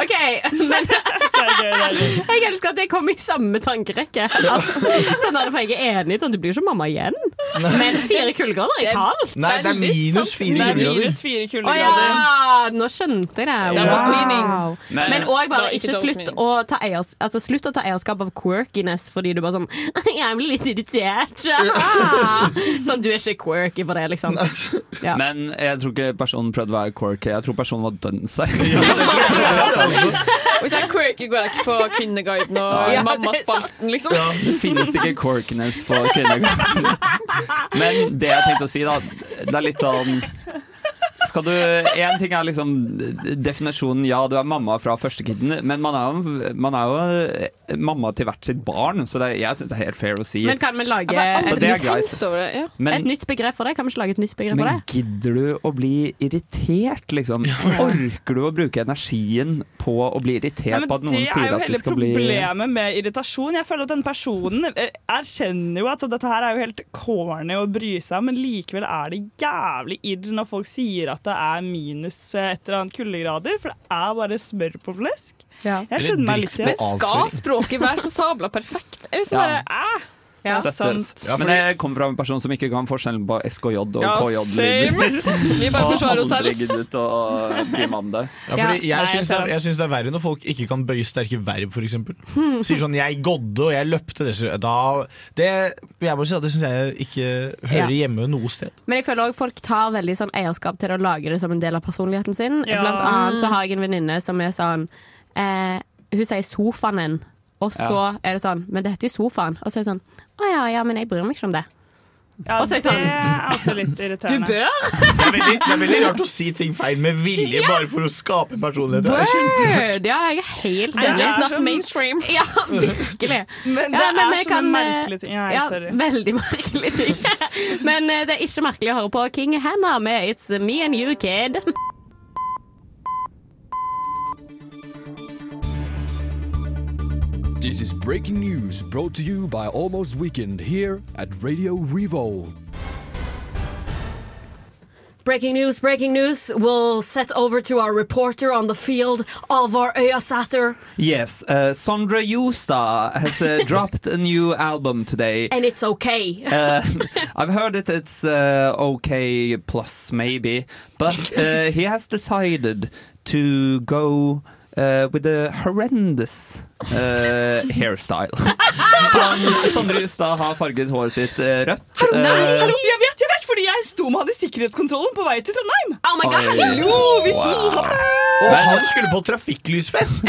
Speaker 2: OK, men Jeg elsker at jeg kom i samme tankerekke. (laughs) At, sånn er det, for jeg er enig i at du blir ikke mamma igjen. Men fire kuldegrader er kaldt.
Speaker 5: Nei, det er minus fire
Speaker 6: Det er
Speaker 5: kuldegrader.
Speaker 6: minus fire
Speaker 2: Å
Speaker 6: kuldegrader.
Speaker 2: ja, nå skjønte jeg det.
Speaker 6: Det var mening.
Speaker 2: Men- Men òg
Speaker 6: Det var
Speaker 2: bare
Speaker 6: ikke
Speaker 2: ikke
Speaker 6: dope
Speaker 2: slutt
Speaker 6: mening.
Speaker 2: å, ta eiers, altså, slutt å ta eierskap av quirkiness fordi du bare sånn (laughs) Jeg blir litt irritert. (laughs) sånn, du er ikke quirky for det, liksom. Ja.
Speaker 3: Men jeg tror ikke personen prøvde å være quirky. Jeg tror personen var dønn seg.
Speaker 4: Hvis jeg er quirky, går jeg ikke på Kvinneguiden og
Speaker 3: Ja,
Speaker 4: Mammaspalten, liksom.
Speaker 3: Det finnes ikke quirkiness på kvinneguiden. Men det jeg tenkte å si, da, det er litt sånn skal du, en ting er liksom definisjonen ja, du er mamma fra første kiden, men man er jo, man er jo mamma til hvert sitt barn, så det, jeg syns det er helt fair å si.
Speaker 25: Men kan vi lage
Speaker 3: Så det er greit. Men-
Speaker 25: et nytt begrep for det? Kan vi ikke lage et nytt begrep for
Speaker 3: Men
Speaker 25: det?
Speaker 3: gidder du å bli irritert, liksom? Orker du å bruke energien på å bli
Speaker 6: Nei,
Speaker 3: irritert
Speaker 6: men
Speaker 3: på at noen sier at det skal
Speaker 6: Det
Speaker 3: bli
Speaker 6: er jo hele problemet med irritasjon. Jeg føler at den personen eh, erkjenner jo at så dette her er jo helt corny å bry seg om, men likevel er det jævlig irr når folk sier at det er minus eh, et eller annet kuldegrader, for det er bare smør på flesk. Jeg
Speaker 4: Eller
Speaker 6: skjønner meg
Speaker 4: drikk
Speaker 6: litt
Speaker 4: på
Speaker 6: igjen.
Speaker 4: Men skal språket være så sabla perfekt? Eller sånn
Speaker 3: Ja.
Speaker 4: der, æ?
Speaker 3: Støttes. Men jeg kommer fra en person som ikke kan forskjellen på SKJ og
Speaker 4: Ja, (laughs)
Speaker 3: KJ-lyder.
Speaker 4: same. Vi bare forsvarer oss selv.
Speaker 3: Aldri giddet å bry meg om det.
Speaker 5: Ja, fordi jeg syns det, er- jeg synes det er verre når folk ikke kan bøye sterke verb, f.eks. Sier sånn 'jeg gådde' og 'jeg løpte'. Det, sy- da, det, jeg bare sier at det syns jeg ikke hører
Speaker 25: Ja.
Speaker 5: hjemme noe sted.
Speaker 25: Men jeg føler også folk tar veldig sånn eierskap til det og lager det som en del av personligheten sin.
Speaker 6: Ja.
Speaker 25: Blant annet
Speaker 1: Mm.
Speaker 25: så har jeg en venninne som er sånn eh, Hun sier 'sofaen en', og så er det sånn Men det heter jo sofaen. Og så er det sånn Å ja, ja, men jeg bryr meg ikke om det.
Speaker 6: Ja,
Speaker 25: Og så er
Speaker 6: det
Speaker 25: jeg sånn-
Speaker 6: er også litt irriterende.
Speaker 25: Du bør?
Speaker 5: Det er veldig, det er veldig rart å si ting feil med vilje
Speaker 25: Ja.
Speaker 5: bare for å skape personlighet. Det er kjemperart.
Speaker 25: Word! Ja, jeg er helt
Speaker 4: I'm
Speaker 25: enig.
Speaker 4: just not
Speaker 25: mainstream. Ja, virkelig.
Speaker 6: Men det
Speaker 25: ja,
Speaker 6: er
Speaker 25: vi
Speaker 6: sånne
Speaker 25: kan, eh,
Speaker 6: merkelige ting. Nei,
Speaker 25: ja,
Speaker 6: sorry.
Speaker 25: veldig merkelige ting. men eh, det er ikke merkelig å høre på King Hannah med It's Me and You Kid.
Speaker 22: This is breaking news brought to you by Almost Weekend here at Radio Revolt.
Speaker 1: Breaking news, breaking news. We'll set over to our reporter on the field, Alvar Øyasatter.
Speaker 3: Yes, uh, Sondre Justad has (laughs) uh, dropped a new album
Speaker 4: (laughs)
Speaker 3: today.
Speaker 1: And it's okay.
Speaker 3: Uh, (laughs) I've heard it, it's uh, okay plus maybe,
Speaker 4: (laughs)
Speaker 3: but uh, he has decided to go uh, with a horrendous uh, hairstyle.
Speaker 4: (laughs)
Speaker 3: Han, Sondre Justad har farget håret sitt uh, rødt.
Speaker 6: Nei,
Speaker 3: Uh,
Speaker 6: hallo, jeg vet, jeg vet, fordi jeg sto med han i sikkerhetskontrollen på vei til Trondheim.
Speaker 25: Oh my
Speaker 3: God, Oi.
Speaker 6: Hallo, vi sto
Speaker 3: Wow.
Speaker 6: sammen!
Speaker 5: Og han skulle på (laughs) trafikklysfest!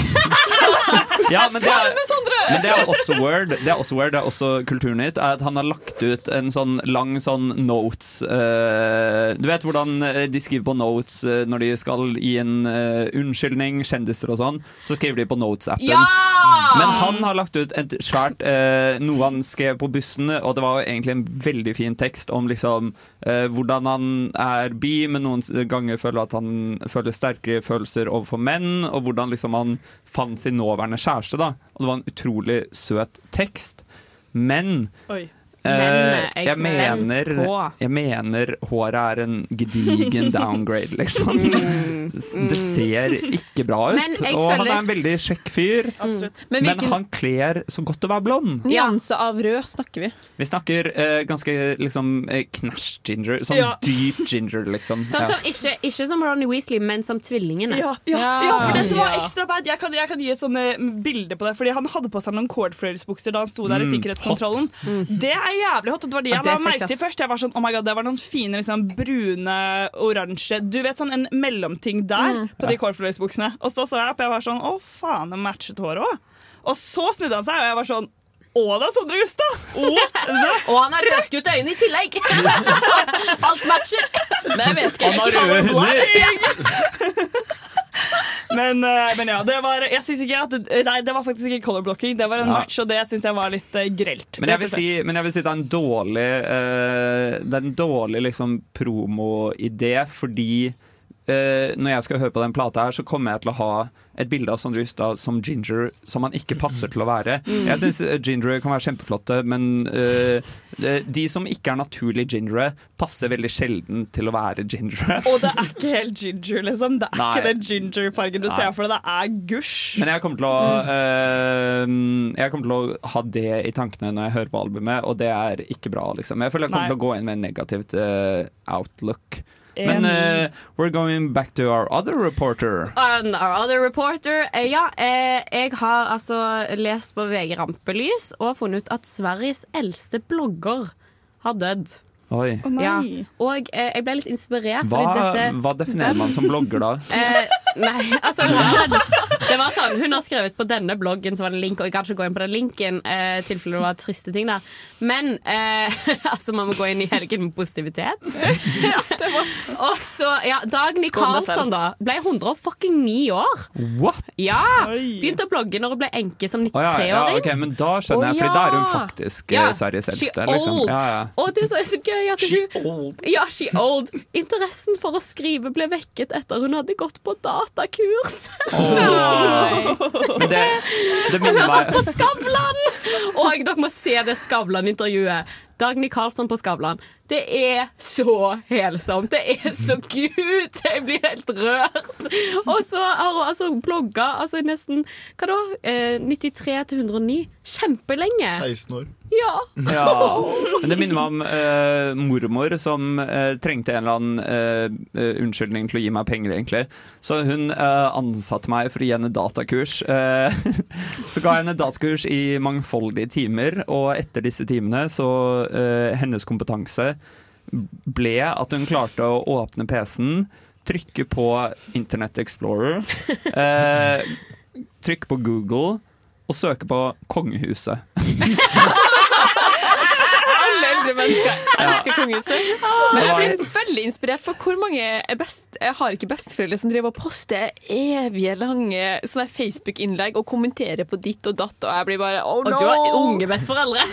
Speaker 3: ja, men det er,
Speaker 4: Sammen med Sondre!
Speaker 3: Men det er også word, det er også, word, det er også kulturnytt, er at han har lagt ut en sånn lang sånn notes eh, Du vet hvordan eh, de skriver på notes eh, når de skal gi en eh, unnskyldning, kjendiser og sånn? Så skriver de på notes-appen.
Speaker 25: Ja!
Speaker 3: Men han har lagt ut et svært eh, noe han skrev på bussen, og det var jo egentlig en veldig fin tekst om liksom eh, hvordan han er bi, men noen s- ganger føler at han føler sterkere følelser overfor menn, og hvordan liksom han fant sin nåværende kjæreste, da. Og det var en utrolig søt tekst. Men
Speaker 6: Oi.
Speaker 3: eh,
Speaker 25: Men, eh,
Speaker 3: jeg,
Speaker 25: jeg er spent
Speaker 3: mener,
Speaker 25: på.
Speaker 3: jeg mener håret er en gedigen downgrade, liksom. Det ser ikke bra ut.
Speaker 4: Men jeg
Speaker 3: Og han
Speaker 4: føler-
Speaker 3: er en veldig kjekk fyr.
Speaker 6: Mm.
Speaker 25: Mm.
Speaker 4: Men
Speaker 3: Men,
Speaker 4: hvilken-
Speaker 3: han kler så godt å være blond.
Speaker 4: Nyanse av rød snakker vi.
Speaker 3: Vi snakker eh, ganske liksom eh, knæsj ginger. Sånn
Speaker 25: Ja.
Speaker 3: dyp ginger, liksom.
Speaker 25: Sånn
Speaker 3: Ja.
Speaker 25: som, ikke, ikke som Ronny Weasley, men som tvillingene.
Speaker 6: Ja, ja, ja, for det som var
Speaker 25: Ja.
Speaker 6: ekstra bad Jeg kan, jeg kan gi et sånne bilde på det. Fordi han hadde på seg noen cordfløyelsbukser da han sto der i
Speaker 3: Mm,
Speaker 6: sikkerhetskontrollen. Det er jævlig hot. og Det var de
Speaker 25: Ja,
Speaker 6: jeg
Speaker 25: det
Speaker 6: la
Speaker 25: er sexy,
Speaker 6: merke til
Speaker 25: ass.
Speaker 6: først. Jeg var sånn, oh my god, Det var noen fine liksom, brune, oransje Du vet sånn en mellomting der
Speaker 25: Mm.
Speaker 6: på de cordfløyelsbuksene. Og så så jeg opp, jeg var sånn å faen, det matchet håret òg. Og så snudde han seg, og jeg var sånn å, det er Sondre Gustav! Og
Speaker 1: han har rødskutt øyne i tillegg! Alt matcher!
Speaker 4: Nei, jeg vet ikke.
Speaker 6: Han har røde hunder. (laughs) Men, eh, men ja, det var, jeg synes ikke at, nei, det var faktisk ikke colorblocking. Det var en
Speaker 3: Ja.
Speaker 6: match, og det syns jeg var litt eh, grelt.
Speaker 3: Men jeg,
Speaker 6: rett
Speaker 3: vil
Speaker 6: og
Speaker 3: si,
Speaker 6: slett.
Speaker 3: men jeg vil si det er en dårlig eh, Det er en dårlig liksom, promoidé, fordi eh, når jeg skal høre på den plata her, så kommer jeg til å ha et bilde av Sondre Justad som Ginger som han ikke passer til å være.
Speaker 26: Mm.
Speaker 3: Jeg syns Ginger kan være kjempeflotte, men eh, eh, de som ikke er naturlig gingere, passer veldig sjelden til å være gingere.
Speaker 6: Og det er ikke helt ginger, liksom. Det er
Speaker 3: Nei.
Speaker 6: ikke den ginger-fargen du
Speaker 3: Nei.
Speaker 6: ser for deg. Det er gusj.
Speaker 3: Men jeg kommer til å
Speaker 2: Mm.
Speaker 3: eh, Jeg kommer til å ha det i tankene når jeg hører på albumet, og det er ikke bra, liksom. Jeg føler jeg
Speaker 6: Nei.
Speaker 3: kommer til å gå inn med en negativt eh, outlook.
Speaker 25: Enig.
Speaker 3: Men eh, we're going back to our other reporter.
Speaker 25: And our other reporter eh, Ja, eh, jeg har altså lest på VG Rampelys og funnet ut at Sveriges eldste blogger har dødd.
Speaker 3: Oi.
Speaker 25: Ja. Og eh, jeg ble litt inspirert.
Speaker 3: Hva,
Speaker 25: fordi dette,
Speaker 3: hva definerer man som blogger, da?
Speaker 25: Eh,
Speaker 2: Nei, altså hun hadde, Det var sånn, hun har skrevet på denne bloggen Så var det en link, og jeg kan ikke gå inn på den linken eh, tilfelle det var triste ting der. Men eh, (laughs) altså, man må gå inn i helgen
Speaker 25: (laughs)
Speaker 2: med positivitet. (laughs) og så, ja, Dagny
Speaker 25: Skål deg selv.
Speaker 2: Karlsson, da, ble 109 år.
Speaker 3: What?
Speaker 2: Ja! Begynte å blogge når hun ble enke som
Speaker 3: Å ja, ja,
Speaker 2: 93-åring.
Speaker 3: ok, men da skjønner
Speaker 2: Å,
Speaker 3: jeg, for da er hun
Speaker 2: ja.
Speaker 3: faktisk
Speaker 2: Ja.
Speaker 3: eh, Sveriges
Speaker 2: She
Speaker 3: eldste. Liksom.
Speaker 2: old.
Speaker 3: Ja, ja.
Speaker 2: Og det som er så gøy at
Speaker 3: She
Speaker 2: hun Ja, she old. Interessen for å skrive ble vekket etter hun hadde gått på datakurs.
Speaker 3: Men det, det
Speaker 2: Hun
Speaker 3: minner
Speaker 2: har
Speaker 3: meg
Speaker 2: vært på Skavlan! Og dere må se det Skavlan-intervjuet. Dagny Karlsson på Skavlan. Det er så helsomt. Det er så gud! Jeg blir helt rørt. Og så har hun altså blogga altså i nesten hva da? Eh, 93 til 109. Kjempelenge.
Speaker 5: 16 år.
Speaker 2: Ja.
Speaker 3: Ja. (laughs) Men det minner meg om eh, mormor som eh, trengte en eller annen eh, eh, unnskyldning til å gi meg penger, egentlig. Så hun eh, ansatte meg for å gi henne datakurs. Eh, (laughs) så ga jeg henne datakurs i mangfoldige timer, og etter disse timene så eh, Hennes kompetanse ble at hun klarte å åpne PC-en, trykke på Internet Explorer, eh, trykke på Google og søke på kongehuset.
Speaker 4: Alle eldre mennesker elsker kongehuset. Men jeg
Speaker 3: Det
Speaker 4: blir veldig inspirert, for hvor mange er best, jeg har ikke besteforeldre som driver og poster evige lange sånne Facebook-innlegg og kommenterer på ditt og datt, og jeg blir bare oh
Speaker 2: Og
Speaker 4: no!
Speaker 2: du har unge besteforeldre.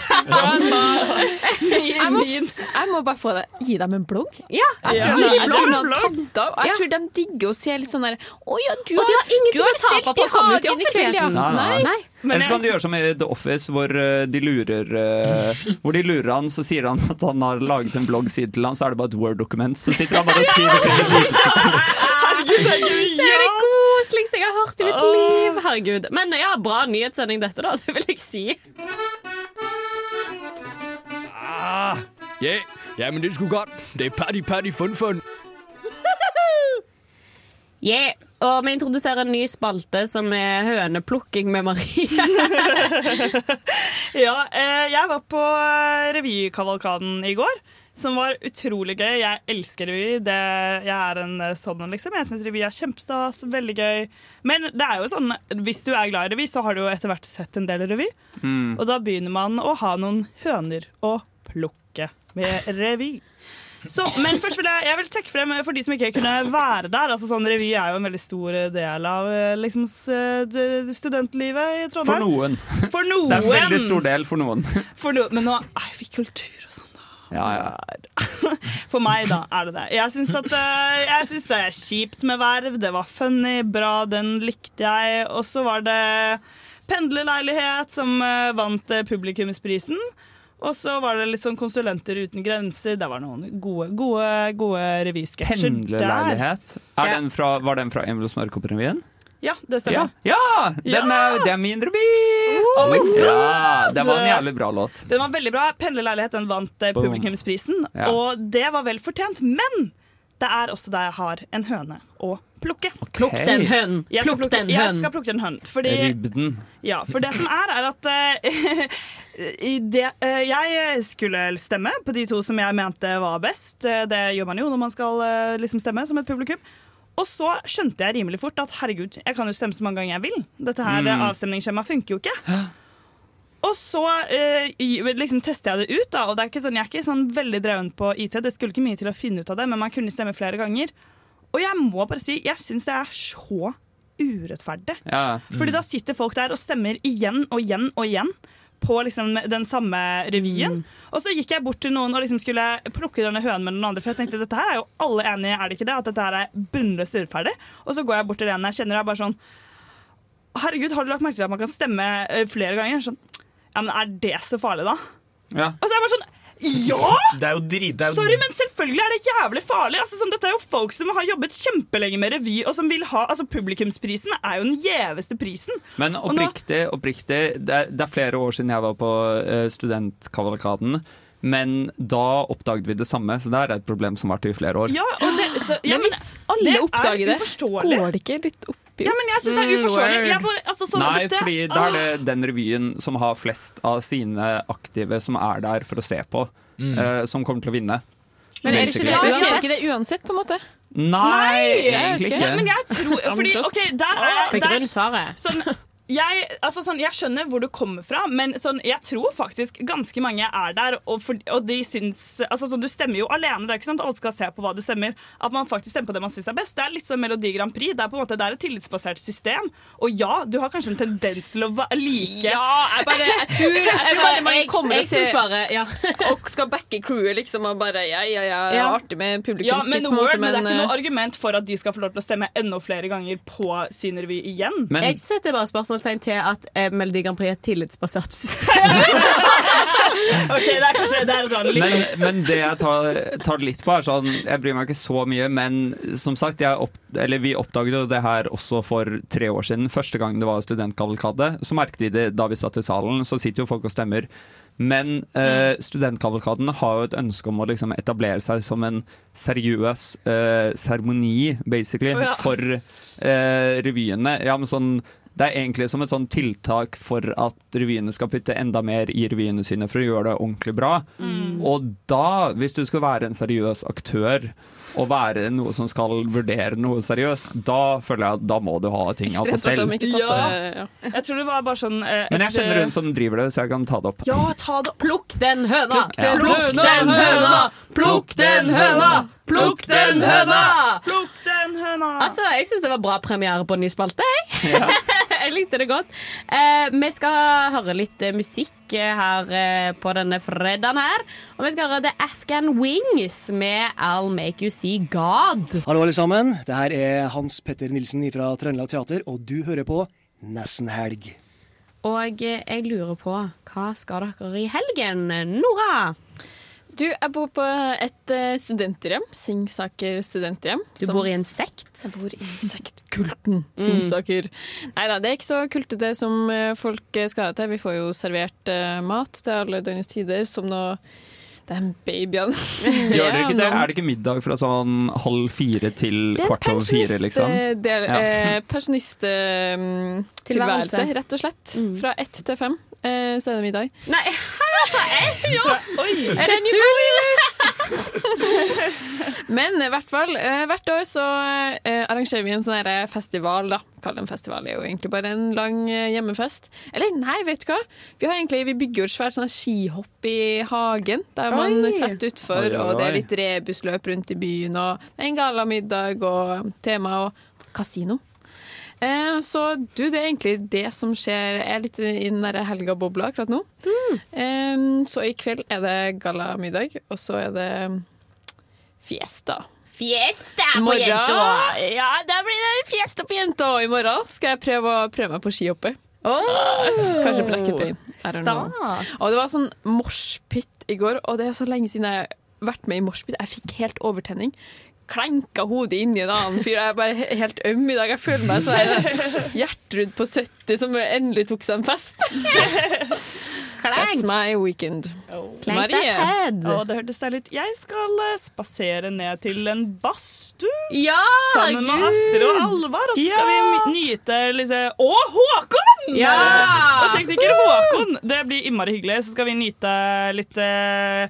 Speaker 4: jeg, må, jeg må bare få det. gi dem en blogg.
Speaker 2: Ja,
Speaker 4: Jeg
Speaker 2: Ja.
Speaker 4: tror,
Speaker 2: Gi
Speaker 4: jeg
Speaker 2: blogg.
Speaker 4: tror, de har tatt av.
Speaker 2: Ja.
Speaker 4: jeg tror de digger å se litt sånn der Å ja, du
Speaker 2: Og de har ingenting
Speaker 4: du har
Speaker 2: å tape
Speaker 4: stelt
Speaker 2: på å komme ut i
Speaker 4: hagen kveld, ja.»
Speaker 2: offentligheten.
Speaker 3: Nei, nei.
Speaker 4: Men
Speaker 3: Eller
Speaker 4: jeg-
Speaker 3: så kan du gjøre som i The Office, hvor eh, de lurer eh, Hvor de lurer han, så sier han (laughs) at han har laget en bloggside til han, så er det bare et Word-dokument. Så sitter han bare og (laughs) skriver sine dypeste
Speaker 2: Det er det koseligste jeg har hørt i mitt liv. Herregud. Men ja, bra nyhetssending dette, da. (laughs) Det vil jeg si.
Speaker 22: Ah, ja, ja, men det skulle godt. Det er party, party, fun, fun.
Speaker 2: Yeah. Og vi introduserer en ny spalte som er høneplukking med Marie.
Speaker 6: Ja, eh, jeg var på eh, revykavalkaden i går, som var utrolig gøy. Jeg elsker revy. Det, jeg er en eh, sånn en, liksom. Jeg syns revy er kjempestas, veldig gøy. Men det er jo sånn, hvis du er glad i revy, så har du jo etter hvert sett en del revy.
Speaker 27: Mm.
Speaker 6: Og da begynner man å ha noen høner å plukke med revy. Så, men først vil jeg, jeg vil trekke frem for de som ikke kunne være der. Altså sånn Revy er jo en veldig stor del av eh, liksom, s- d- studentlivet i Trondheim.
Speaker 3: For noen.
Speaker 6: For
Speaker 3: Det er en
Speaker 6: noen.
Speaker 3: veldig stor del for noen.
Speaker 6: For noen. Men nå er vi kultur.
Speaker 3: (laughs)
Speaker 6: sånn.
Speaker 3: Ja, ja.
Speaker 6: For meg, da, er det det. Jeg syns at, eh, jeg syns det er kjipt med verv. Det var funny, bra, den likte jeg. Og så var det pendlerleilighet som eh, vant eh, publikumsprisen. Og så var det litt sånn Konsulenter uten grenser. Det var noen gode, gode, gode revysketsjer der.
Speaker 3: Pendlerleilighet. Er den fra, var den fra Emil og Smørkopp-revyen?
Speaker 6: Ja, det
Speaker 3: Ja,
Speaker 6: stemmer.
Speaker 3: ja den er, det er min revy!
Speaker 6: Oh my God!
Speaker 3: Ja, det var en jævlig bra låt.
Speaker 6: Den var veldig bra. Pendlerleilighet den vant eh,
Speaker 3: Boom.
Speaker 6: publikumsprisen,
Speaker 3: Ja.
Speaker 6: og det var vel fortjent. Men det er også der jeg har en høne å plukke.
Speaker 3: Plukk den hønen.
Speaker 6: Jeg skal
Speaker 3: Plukk den
Speaker 6: Jeg
Speaker 3: hønen.
Speaker 6: skal plukke den hønen. Fordi
Speaker 3: Ribden.
Speaker 6: ja, for det som er, er at eh, (laughs) i det, eh, Jeg skulle stemme på de to som jeg mente var best. Eh, Det gjør man jo når man skal eh, liksom stemme som et publikum. Og så skjønte jeg rimelig fort at herregud, jeg kan jo stemme så mange ganger jeg vil. Dette her
Speaker 27: Mm.
Speaker 6: mm. avstemningsskjemaet funker jo ikke. Og så eh, i- liksom tester jeg det ut, da, og det er ikke sånn, jeg er ikke sånn veldig dreven på IT. Det skulle ikke mye til å finne ut av det, men man kunne stemme flere ganger. Og jeg må bare si, jeg syns det er så urettferdig.
Speaker 3: Ja.
Speaker 6: Fordi da sitter folk der og stemmer igjen og igjen og igjen på liksom den samme revyen. Og så gikk jeg bort til noen og liksom skulle plukke denne hønen med den andre, for jeg tenkte dette her er jo alle enige i, er det ikke det? At dette her er bunnløst urettferdig. Og så går jeg bort til en jeg kjenner og er bare sånn Herregud, har du lagt merke til at man kan stemme eh, flere ganger? Sånn, ja, men er det så farlig, da?
Speaker 3: Ja.
Speaker 6: Og så er jeg bare sånn Ja!
Speaker 5: Det er jo drit... Det er jo
Speaker 6: Sorry, men selvfølgelig er det jævlig farlig. Altså, sånn, dette er jo folk som har jobbet kjempelenge med revy, og som vil ha altså, Publikumsprisen er jo den gjeveste prisen.
Speaker 3: Men
Speaker 6: Og nå-
Speaker 3: oppriktig, oppriktig det er, det er flere år siden jeg var på eh, studentkavalkaden. Men da oppdaget vi det samme, så det er et problem som har vært i flere år.
Speaker 6: Ja, og det, så, ja, men
Speaker 4: Men hvis alle
Speaker 6: det er
Speaker 4: oppdager det,
Speaker 6: uforståelig.
Speaker 4: går det ikke litt opp i
Speaker 6: Ja, men jeg syns det er
Speaker 4: Mm,
Speaker 6: uforståelig.
Speaker 4: word.
Speaker 6: Jeg bare, altså, sånn,
Speaker 3: Nei,
Speaker 6: dette,
Speaker 3: fordi da er det den revyen som har flest av sine aktive som er der for å se på,
Speaker 6: Mm.
Speaker 3: eh, som kommer til å vinne.
Speaker 4: Men er det ikke det,
Speaker 3: Basically.
Speaker 4: skjer ikke det uansett, på en måte?
Speaker 3: Nei, egentlig
Speaker 6: Nei, Ah, men
Speaker 3: ikke.
Speaker 6: jeg
Speaker 4: (laughs)
Speaker 6: tror fordi,
Speaker 4: Antrøst.
Speaker 6: ok, der
Speaker 4: Ah,
Speaker 6: er,
Speaker 2: Begrunn
Speaker 6: der, (laughs)
Speaker 2: svaret.
Speaker 6: sånn, jeg, altså, sånn, jeg skjønner hvor du kommer fra, men sånn, jeg tror faktisk ganske mange er der. Og, for, og de syns, altså, sånn, Du stemmer jo alene. det er ikke sant, Alle skal se på hva du stemmer. At man faktisk stemmer på det man syns er best. Det er litt som Melodi Grand Prix. Det er på en måte, det er et tillitsbasert system. Og ja, du har kanskje en tendens til å va- like
Speaker 4: Ja, jeg bare Jeg tror jeg, tror
Speaker 2: bare-
Speaker 4: veldig mange
Speaker 2: jeg-
Speaker 4: kommer
Speaker 2: jeg synes
Speaker 4: til
Speaker 2: bare,
Speaker 4: Og skal backe crewet, liksom, og bare Ja, ja, ja, det er
Speaker 6: Ja.
Speaker 4: artig med
Speaker 6: Ja, men,
Speaker 4: publikumspiss, på en
Speaker 6: word,
Speaker 4: måte,
Speaker 6: men det er
Speaker 4: men
Speaker 6: ikke noe
Speaker 4: eh,
Speaker 6: argument for at de skal få lov til å stemme enda flere ganger på sin revy igjen.
Speaker 3: Men-
Speaker 2: Jeg setter bare spørsmålstegn til at eh, Melodi Grand Prix er et tillitsbasert system.
Speaker 6: Ok, det er kanskje det er sånn litt
Speaker 3: Men, men det jeg tar, tar litt på, er sånn Jeg bryr meg ikke så mye, men som sagt, jeg opp, eller vi oppdaget jo det her også for tre år siden. Første gang det var studentkavalkade, så merket vi det da vi satt i salen. Så sitter jo folk og stemmer. Men eh, studentkavalkaden har jo et ønske om å liksom etablere seg som en seriøs eh, seremoni, basically,
Speaker 7: Å, ja.
Speaker 3: for eh, revyene. Ja, men sånn det er egentlig som et sånn tiltak for at revyene skal putte enda mer i revyene sine for å gjøre det ordentlig bra.
Speaker 2: Mm.
Speaker 3: Og da, hvis du skal være en seriøs aktør og være noe som skal vurdere noe seriøst, da føler jeg at da må du ha tinga på stell.
Speaker 6: Ja. Jeg tror det var bare sånn eh,
Speaker 3: Men jeg
Speaker 6: et,
Speaker 3: kjenner hun som driver det, så jeg kan ta det opp.
Speaker 6: Ja, ta det
Speaker 2: Plukk den høna!
Speaker 3: Plukk den
Speaker 2: Plukk den
Speaker 3: høna!
Speaker 2: høna! Plukk den høna! Plukk den høna!
Speaker 6: Plukk den høna!
Speaker 2: Altså, Jeg syns det var bra premiere på ny spalte. Jeg, (laughs) jeg likte det godt. Eh, vi skal høre litt eh, musikk eh, her eh, på denne fredagen her. Og vi skal høre The Afghan Wings med I'll Make You See God.
Speaker 28: Hallo, alle sammen. Det her er Hans Petter Nilsen fra Trøndelag Teater, og du hører på Nesten Helg.
Speaker 2: Og eh, jeg lurer på, hva skal dere i helgen, eh, Nora?
Speaker 4: Du, jeg bor på et eh, studenthjem. Singsaker studenthjem.
Speaker 2: Du
Speaker 4: som-
Speaker 2: bor i en sekt?
Speaker 4: Jeg bor i en sekt. Kulten. Singsaker. Nei da, det er ikke så kultete som eh, folk eh, skal ha det til. Vi får jo servert eh, mat til alle døgnets tider, som nå de babyene
Speaker 3: Gjør dere
Speaker 4: (laughs)
Speaker 3: ikke det? Er det ikke middag fra sånn halv fire til
Speaker 4: Det er eh,
Speaker 3: kvart over fire, liksom? Ja. (laughs)
Speaker 4: Pensjonisttilværelse,
Speaker 2: Tilværelse.
Speaker 4: eh,
Speaker 2: Mm.
Speaker 4: rett og slett. Fra ett til fem, eh, så er det middag. Eh,
Speaker 2: Nei,
Speaker 4: Ja.
Speaker 6: Oi!
Speaker 4: Can you believe
Speaker 3: (laughs)
Speaker 4: it? Men i hvert fall, eh, hvert år så eh, arrangerer vi en sånn her festival, da. Kall det en festival, det er jo egentlig bare en lang eh, hjemmefest. Eller nei, vet du hva? Vi, har egentlig, vi bygger jo et svært sånn skihopp i hagen, der man
Speaker 2: Oi.
Speaker 4: setter utfor,
Speaker 2: Oi, oi,
Speaker 4: og det
Speaker 2: oi.
Speaker 4: er litt rebusløp rundt i byen, og det er en galamiddag og tema og kasino. Eh, så du, det er egentlig det som skjer. Jeg er litt i den der helga-bobla akkurat nå.
Speaker 2: Mm.
Speaker 4: Eh, så i kveld er det gallamiddag, og så er det fiesta.
Speaker 2: Fiesta
Speaker 4: I
Speaker 2: på
Speaker 4: morgen-
Speaker 2: jenta!
Speaker 4: Ja, da blir det fiesta på jenta! Og i morgen skal jeg prøve, å- prøve meg på skihoppet. Kanskje bracketbein. I don't know.
Speaker 2: Stas.
Speaker 4: Og det var sånn moshpit i går, og det er så lenge siden jeg har vært med i moshpit. Jeg fikk helt overtenning. Klenka hodet inn i en annen fyr. Jeg er bare he- helt øm i dag. Jeg føler meg så er Gjertrud på 70 som endelig tok seg en (laughs) fest. That's my weekend.
Speaker 6: Marie. Å,
Speaker 4: Marie.
Speaker 6: det hørtes deilig ut. Jeg skal eh, spasere ned til en badstue
Speaker 2: Ja,
Speaker 6: sammen med
Speaker 2: Gud!
Speaker 6: Astrid og Alvar. Og så skal vi nyte liksom Og Håkon!
Speaker 2: Ja!
Speaker 6: Og tekniker Håkon. Det blir innmari hyggelig. Så skal vi nyte litt eh,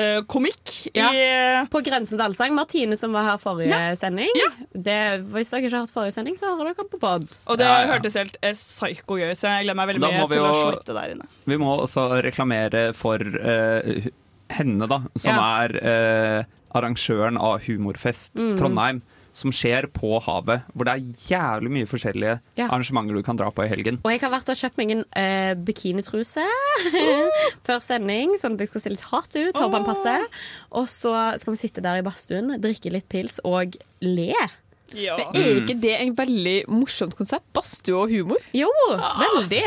Speaker 6: eh, komikk
Speaker 2: Ja.
Speaker 6: i eh,
Speaker 2: På grensen til allsang. Martine som var her forrige
Speaker 6: Ja.
Speaker 2: sending. Det, hvis dere ikke har hørt forrige sending, så hører dere på pod.
Speaker 6: Og det hørtes helt eh, psyko gøy ut, så jeg gleder meg veldig
Speaker 3: Da
Speaker 6: mye
Speaker 3: må vi
Speaker 6: til å
Speaker 3: jo-
Speaker 6: slutte der inne.
Speaker 3: Vi må også reklamere for eh, hu- henne, da, som
Speaker 6: Ja.
Speaker 3: er eh, arrangøren av Humorfest
Speaker 6: Mhm.
Speaker 3: Trondheim. Som skjer på havet, hvor det er jævlig mye forskjellige
Speaker 2: Ja.
Speaker 3: arrangementer du kan dra på i helgen.
Speaker 2: Og jeg har vært og kjøpt meg en eh, bikinitruse (laughs) før sending, sånn at jeg skal se litt hot ut. Håper den passer. Og så skal vi sitte der i badstuen, drikke litt pils og le.
Speaker 4: Men er jo ikke det en veldig morsomt konsept? Badstue og humor?
Speaker 2: Jo,
Speaker 4: Ah.
Speaker 2: veldig.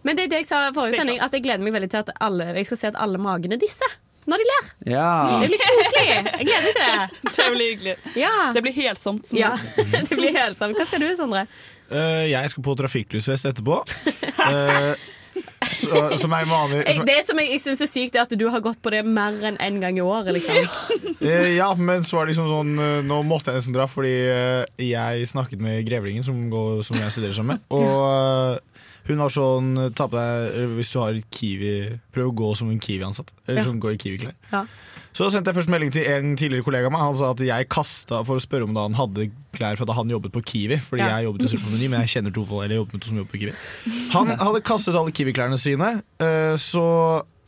Speaker 2: Men det er det jeg sa i forrige sending, at jeg gleder meg veldig til at alle, jeg skal se at alle magene disser når de ler.
Speaker 3: Ja.
Speaker 2: Det blir koselig. Jeg gleder meg til
Speaker 6: (laughs)
Speaker 2: det.
Speaker 6: Det blir hyggelig.
Speaker 2: Ja.
Speaker 6: Det blir helsomt. som
Speaker 2: Ja,
Speaker 6: det
Speaker 2: (laughs) det blir helsomt. Hva skal du, Sondre?
Speaker 5: Eh, jeg skal på trafikklysfest etterpå. Eh, så, som er en vanlig
Speaker 2: Jeg,
Speaker 5: som,
Speaker 2: det som jeg, jeg synes er sykt, er at du har gått på det mer enn én en gang i året. Liksom.
Speaker 5: Eh, Ja, men så var det liksom sånn eh, Nå måtte jeg nesten dra, fordi eh, jeg snakket med Grevlingen, som, går, som jeg studerer sammen med. Og eh, Hun har sånn ta på deg, eller Hvis du har et Kiwi Prøv å gå som en Kiwi-ansatt. Eller
Speaker 1: Ja.
Speaker 5: som går i Kiwi-klær.
Speaker 1: Ja.
Speaker 5: Så sendte jeg først melding til en tidligere kollega av meg. Han sa at jeg kasta for å spørre om da han hadde klær for da han jobbet på Kiwi. Fordi
Speaker 1: Ja.
Speaker 5: jeg jobbet jo selv på Meny, men jeg kjenner to, folk- eller jeg jobbet med to som jobber på Kiwi. Han hadde kastet alle Kiwi-klærne sine, eh, så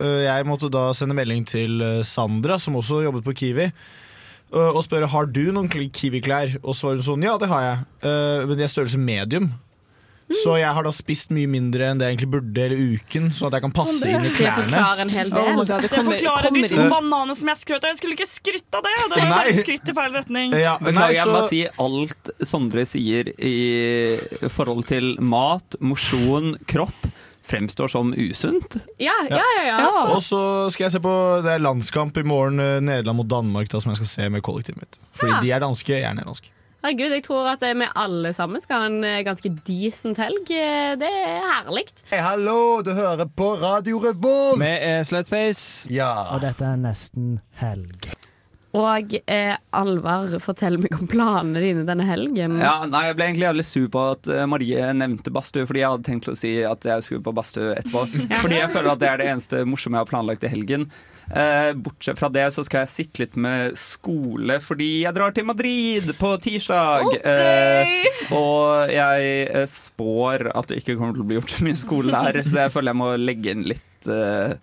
Speaker 5: eh, jeg måtte da sende melding til eh, Sandra, som også jobbet på Kiwi. eh, Og spørre har du noen kli- Kiwi-klær, og så var hun sånn ja, det har jeg, eh, men de er størrelse medium. Så jeg har da spist mye mindre enn det jeg egentlig burde, eller uken, sånn at jeg kan passe inn i klærne.
Speaker 6: Oh my
Speaker 4: God, det
Speaker 6: det
Speaker 4: kommer-
Speaker 6: forklarer de
Speaker 4: kommer
Speaker 6: to
Speaker 5: inn.
Speaker 6: bananene som jeg skrøt av. Jeg skulle ikke skrytt av det! Det var
Speaker 3: Nei.
Speaker 6: bare et skritt i feil
Speaker 5: Eh,
Speaker 6: retning.
Speaker 3: Beklager, jeg må bare si alt Sondre sier i forhold til mat, mosjon, kropp, fremstår som usunt.
Speaker 2: Ja, ja, ja. ja,
Speaker 5: Og så skal jeg se på Det er landskamp i morgen, eh, Nederland mot Danmark, da, som jeg skal se med kollektivet mitt. Fordi
Speaker 2: Ja.
Speaker 5: de er danske, jeg er nederlandsk.
Speaker 2: Herregud, jeg tror at eh, vi alle sammen skal ha en eh, ganske decent helg. Eh, Det er herlig.
Speaker 22: Hei, hallo! Du hører på Radio Revolt!
Speaker 29: Vi er Slutface.
Speaker 22: Og dette er nesten helg.
Speaker 2: Og eh, Alvar, fortell meg om planene dine denne helgen.
Speaker 3: Ja, nei, Jeg ble egentlig jævlig sur på at eh, Marie nevnte badstue, fordi jeg hadde tenkt å si at jeg skulle på badstue etterpå. Fordi jeg føler at det er det eneste morsomme jeg har planlagt i helgen. Eh, bortsett fra det så skal jeg sitte litt med skole, fordi jeg drar til Madrid på tirsdag. Eh, og jeg eh, spår at det ikke kommer til å bli gjort så mye skole der, så jeg føler jeg må legge inn litt eh,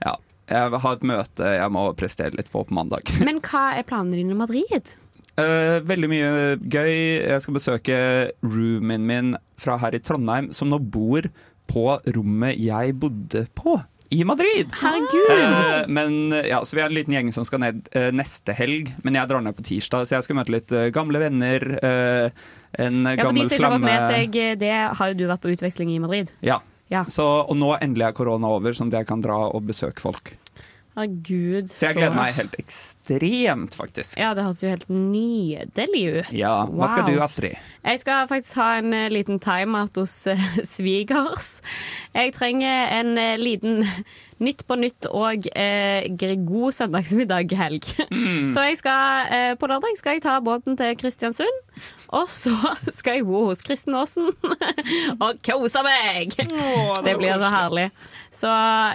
Speaker 3: Ja. Jeg har et møte jeg må prestere litt på på mandag.
Speaker 2: Men hva er planene dine i Madrid?
Speaker 3: Eh, veldig mye gøy. Jeg skal besøke roomien min fra her i Trondheim, som nå bor på rommet jeg bodde på i Madrid.
Speaker 2: Herregud!
Speaker 3: Eh, men ja, Så vi er en liten gjeng som skal ned eh, neste helg, men jeg drar ned på tirsdag, så jeg skal møte litt eh, gamle venner. eh, en
Speaker 2: Ja, for
Speaker 3: gammel
Speaker 2: de som ikke har fått med
Speaker 3: flamme.
Speaker 2: seg eh, det, har jo du vært på utveksling i Madrid.
Speaker 3: Ja.
Speaker 2: Ja.
Speaker 3: Så, og nå endelig er korona over, sånn at jeg kan dra og besøke folk.
Speaker 2: Herregud,
Speaker 3: Så jeg gleder meg helt ekstremt, faktisk.
Speaker 2: Ja, det høres jo helt nydelig ut.
Speaker 3: Ja, Hva skal
Speaker 2: Wow.
Speaker 3: du, Astrid?
Speaker 2: Jeg skal faktisk ha en eh, liten timeout hos eh, (laughs) svigers. Jeg trenger en eh, liten (laughs) Nytt på nytt og eh, gre- god søndagsmiddag-helg. (laughs) Så jeg skal, eh, på lørdag skal jeg ta båten til Kristiansund. Og så (laughs) skal jeg bo hos Kristen Aasen (laughs) og kose meg!
Speaker 6: Åh,
Speaker 2: det
Speaker 6: det var
Speaker 2: blir så
Speaker 6: koselig.
Speaker 2: herlig. Så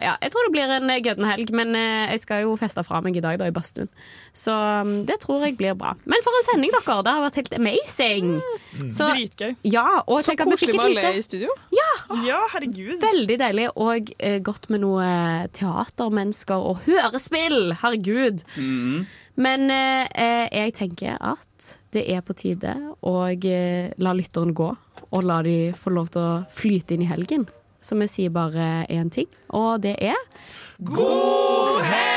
Speaker 2: ja, jeg tror det blir en eh, gødden helg, men eh, jeg skal jo feste fra meg i dag da, i badstuen. Så mm, det tror jeg blir bra. Men for en sending, dere! Det har vært helt amazing.
Speaker 6: Dritgøy.
Speaker 2: Ja, og
Speaker 4: Så
Speaker 2: tenk at vi
Speaker 4: koselig med
Speaker 2: fikk et
Speaker 4: alle
Speaker 2: lite-
Speaker 4: i studio.
Speaker 2: Ja.
Speaker 6: herregud.
Speaker 2: Veldig deilig, og eh, godt med noe eh, teatermennesker og hørespill! Herregud. Men eh, eh, jeg tenker at det er på tide å eh, la lytteren gå, og la de få lov til å flyte inn i helgen. Så vi sier bare én ting, og det er
Speaker 15: God helg!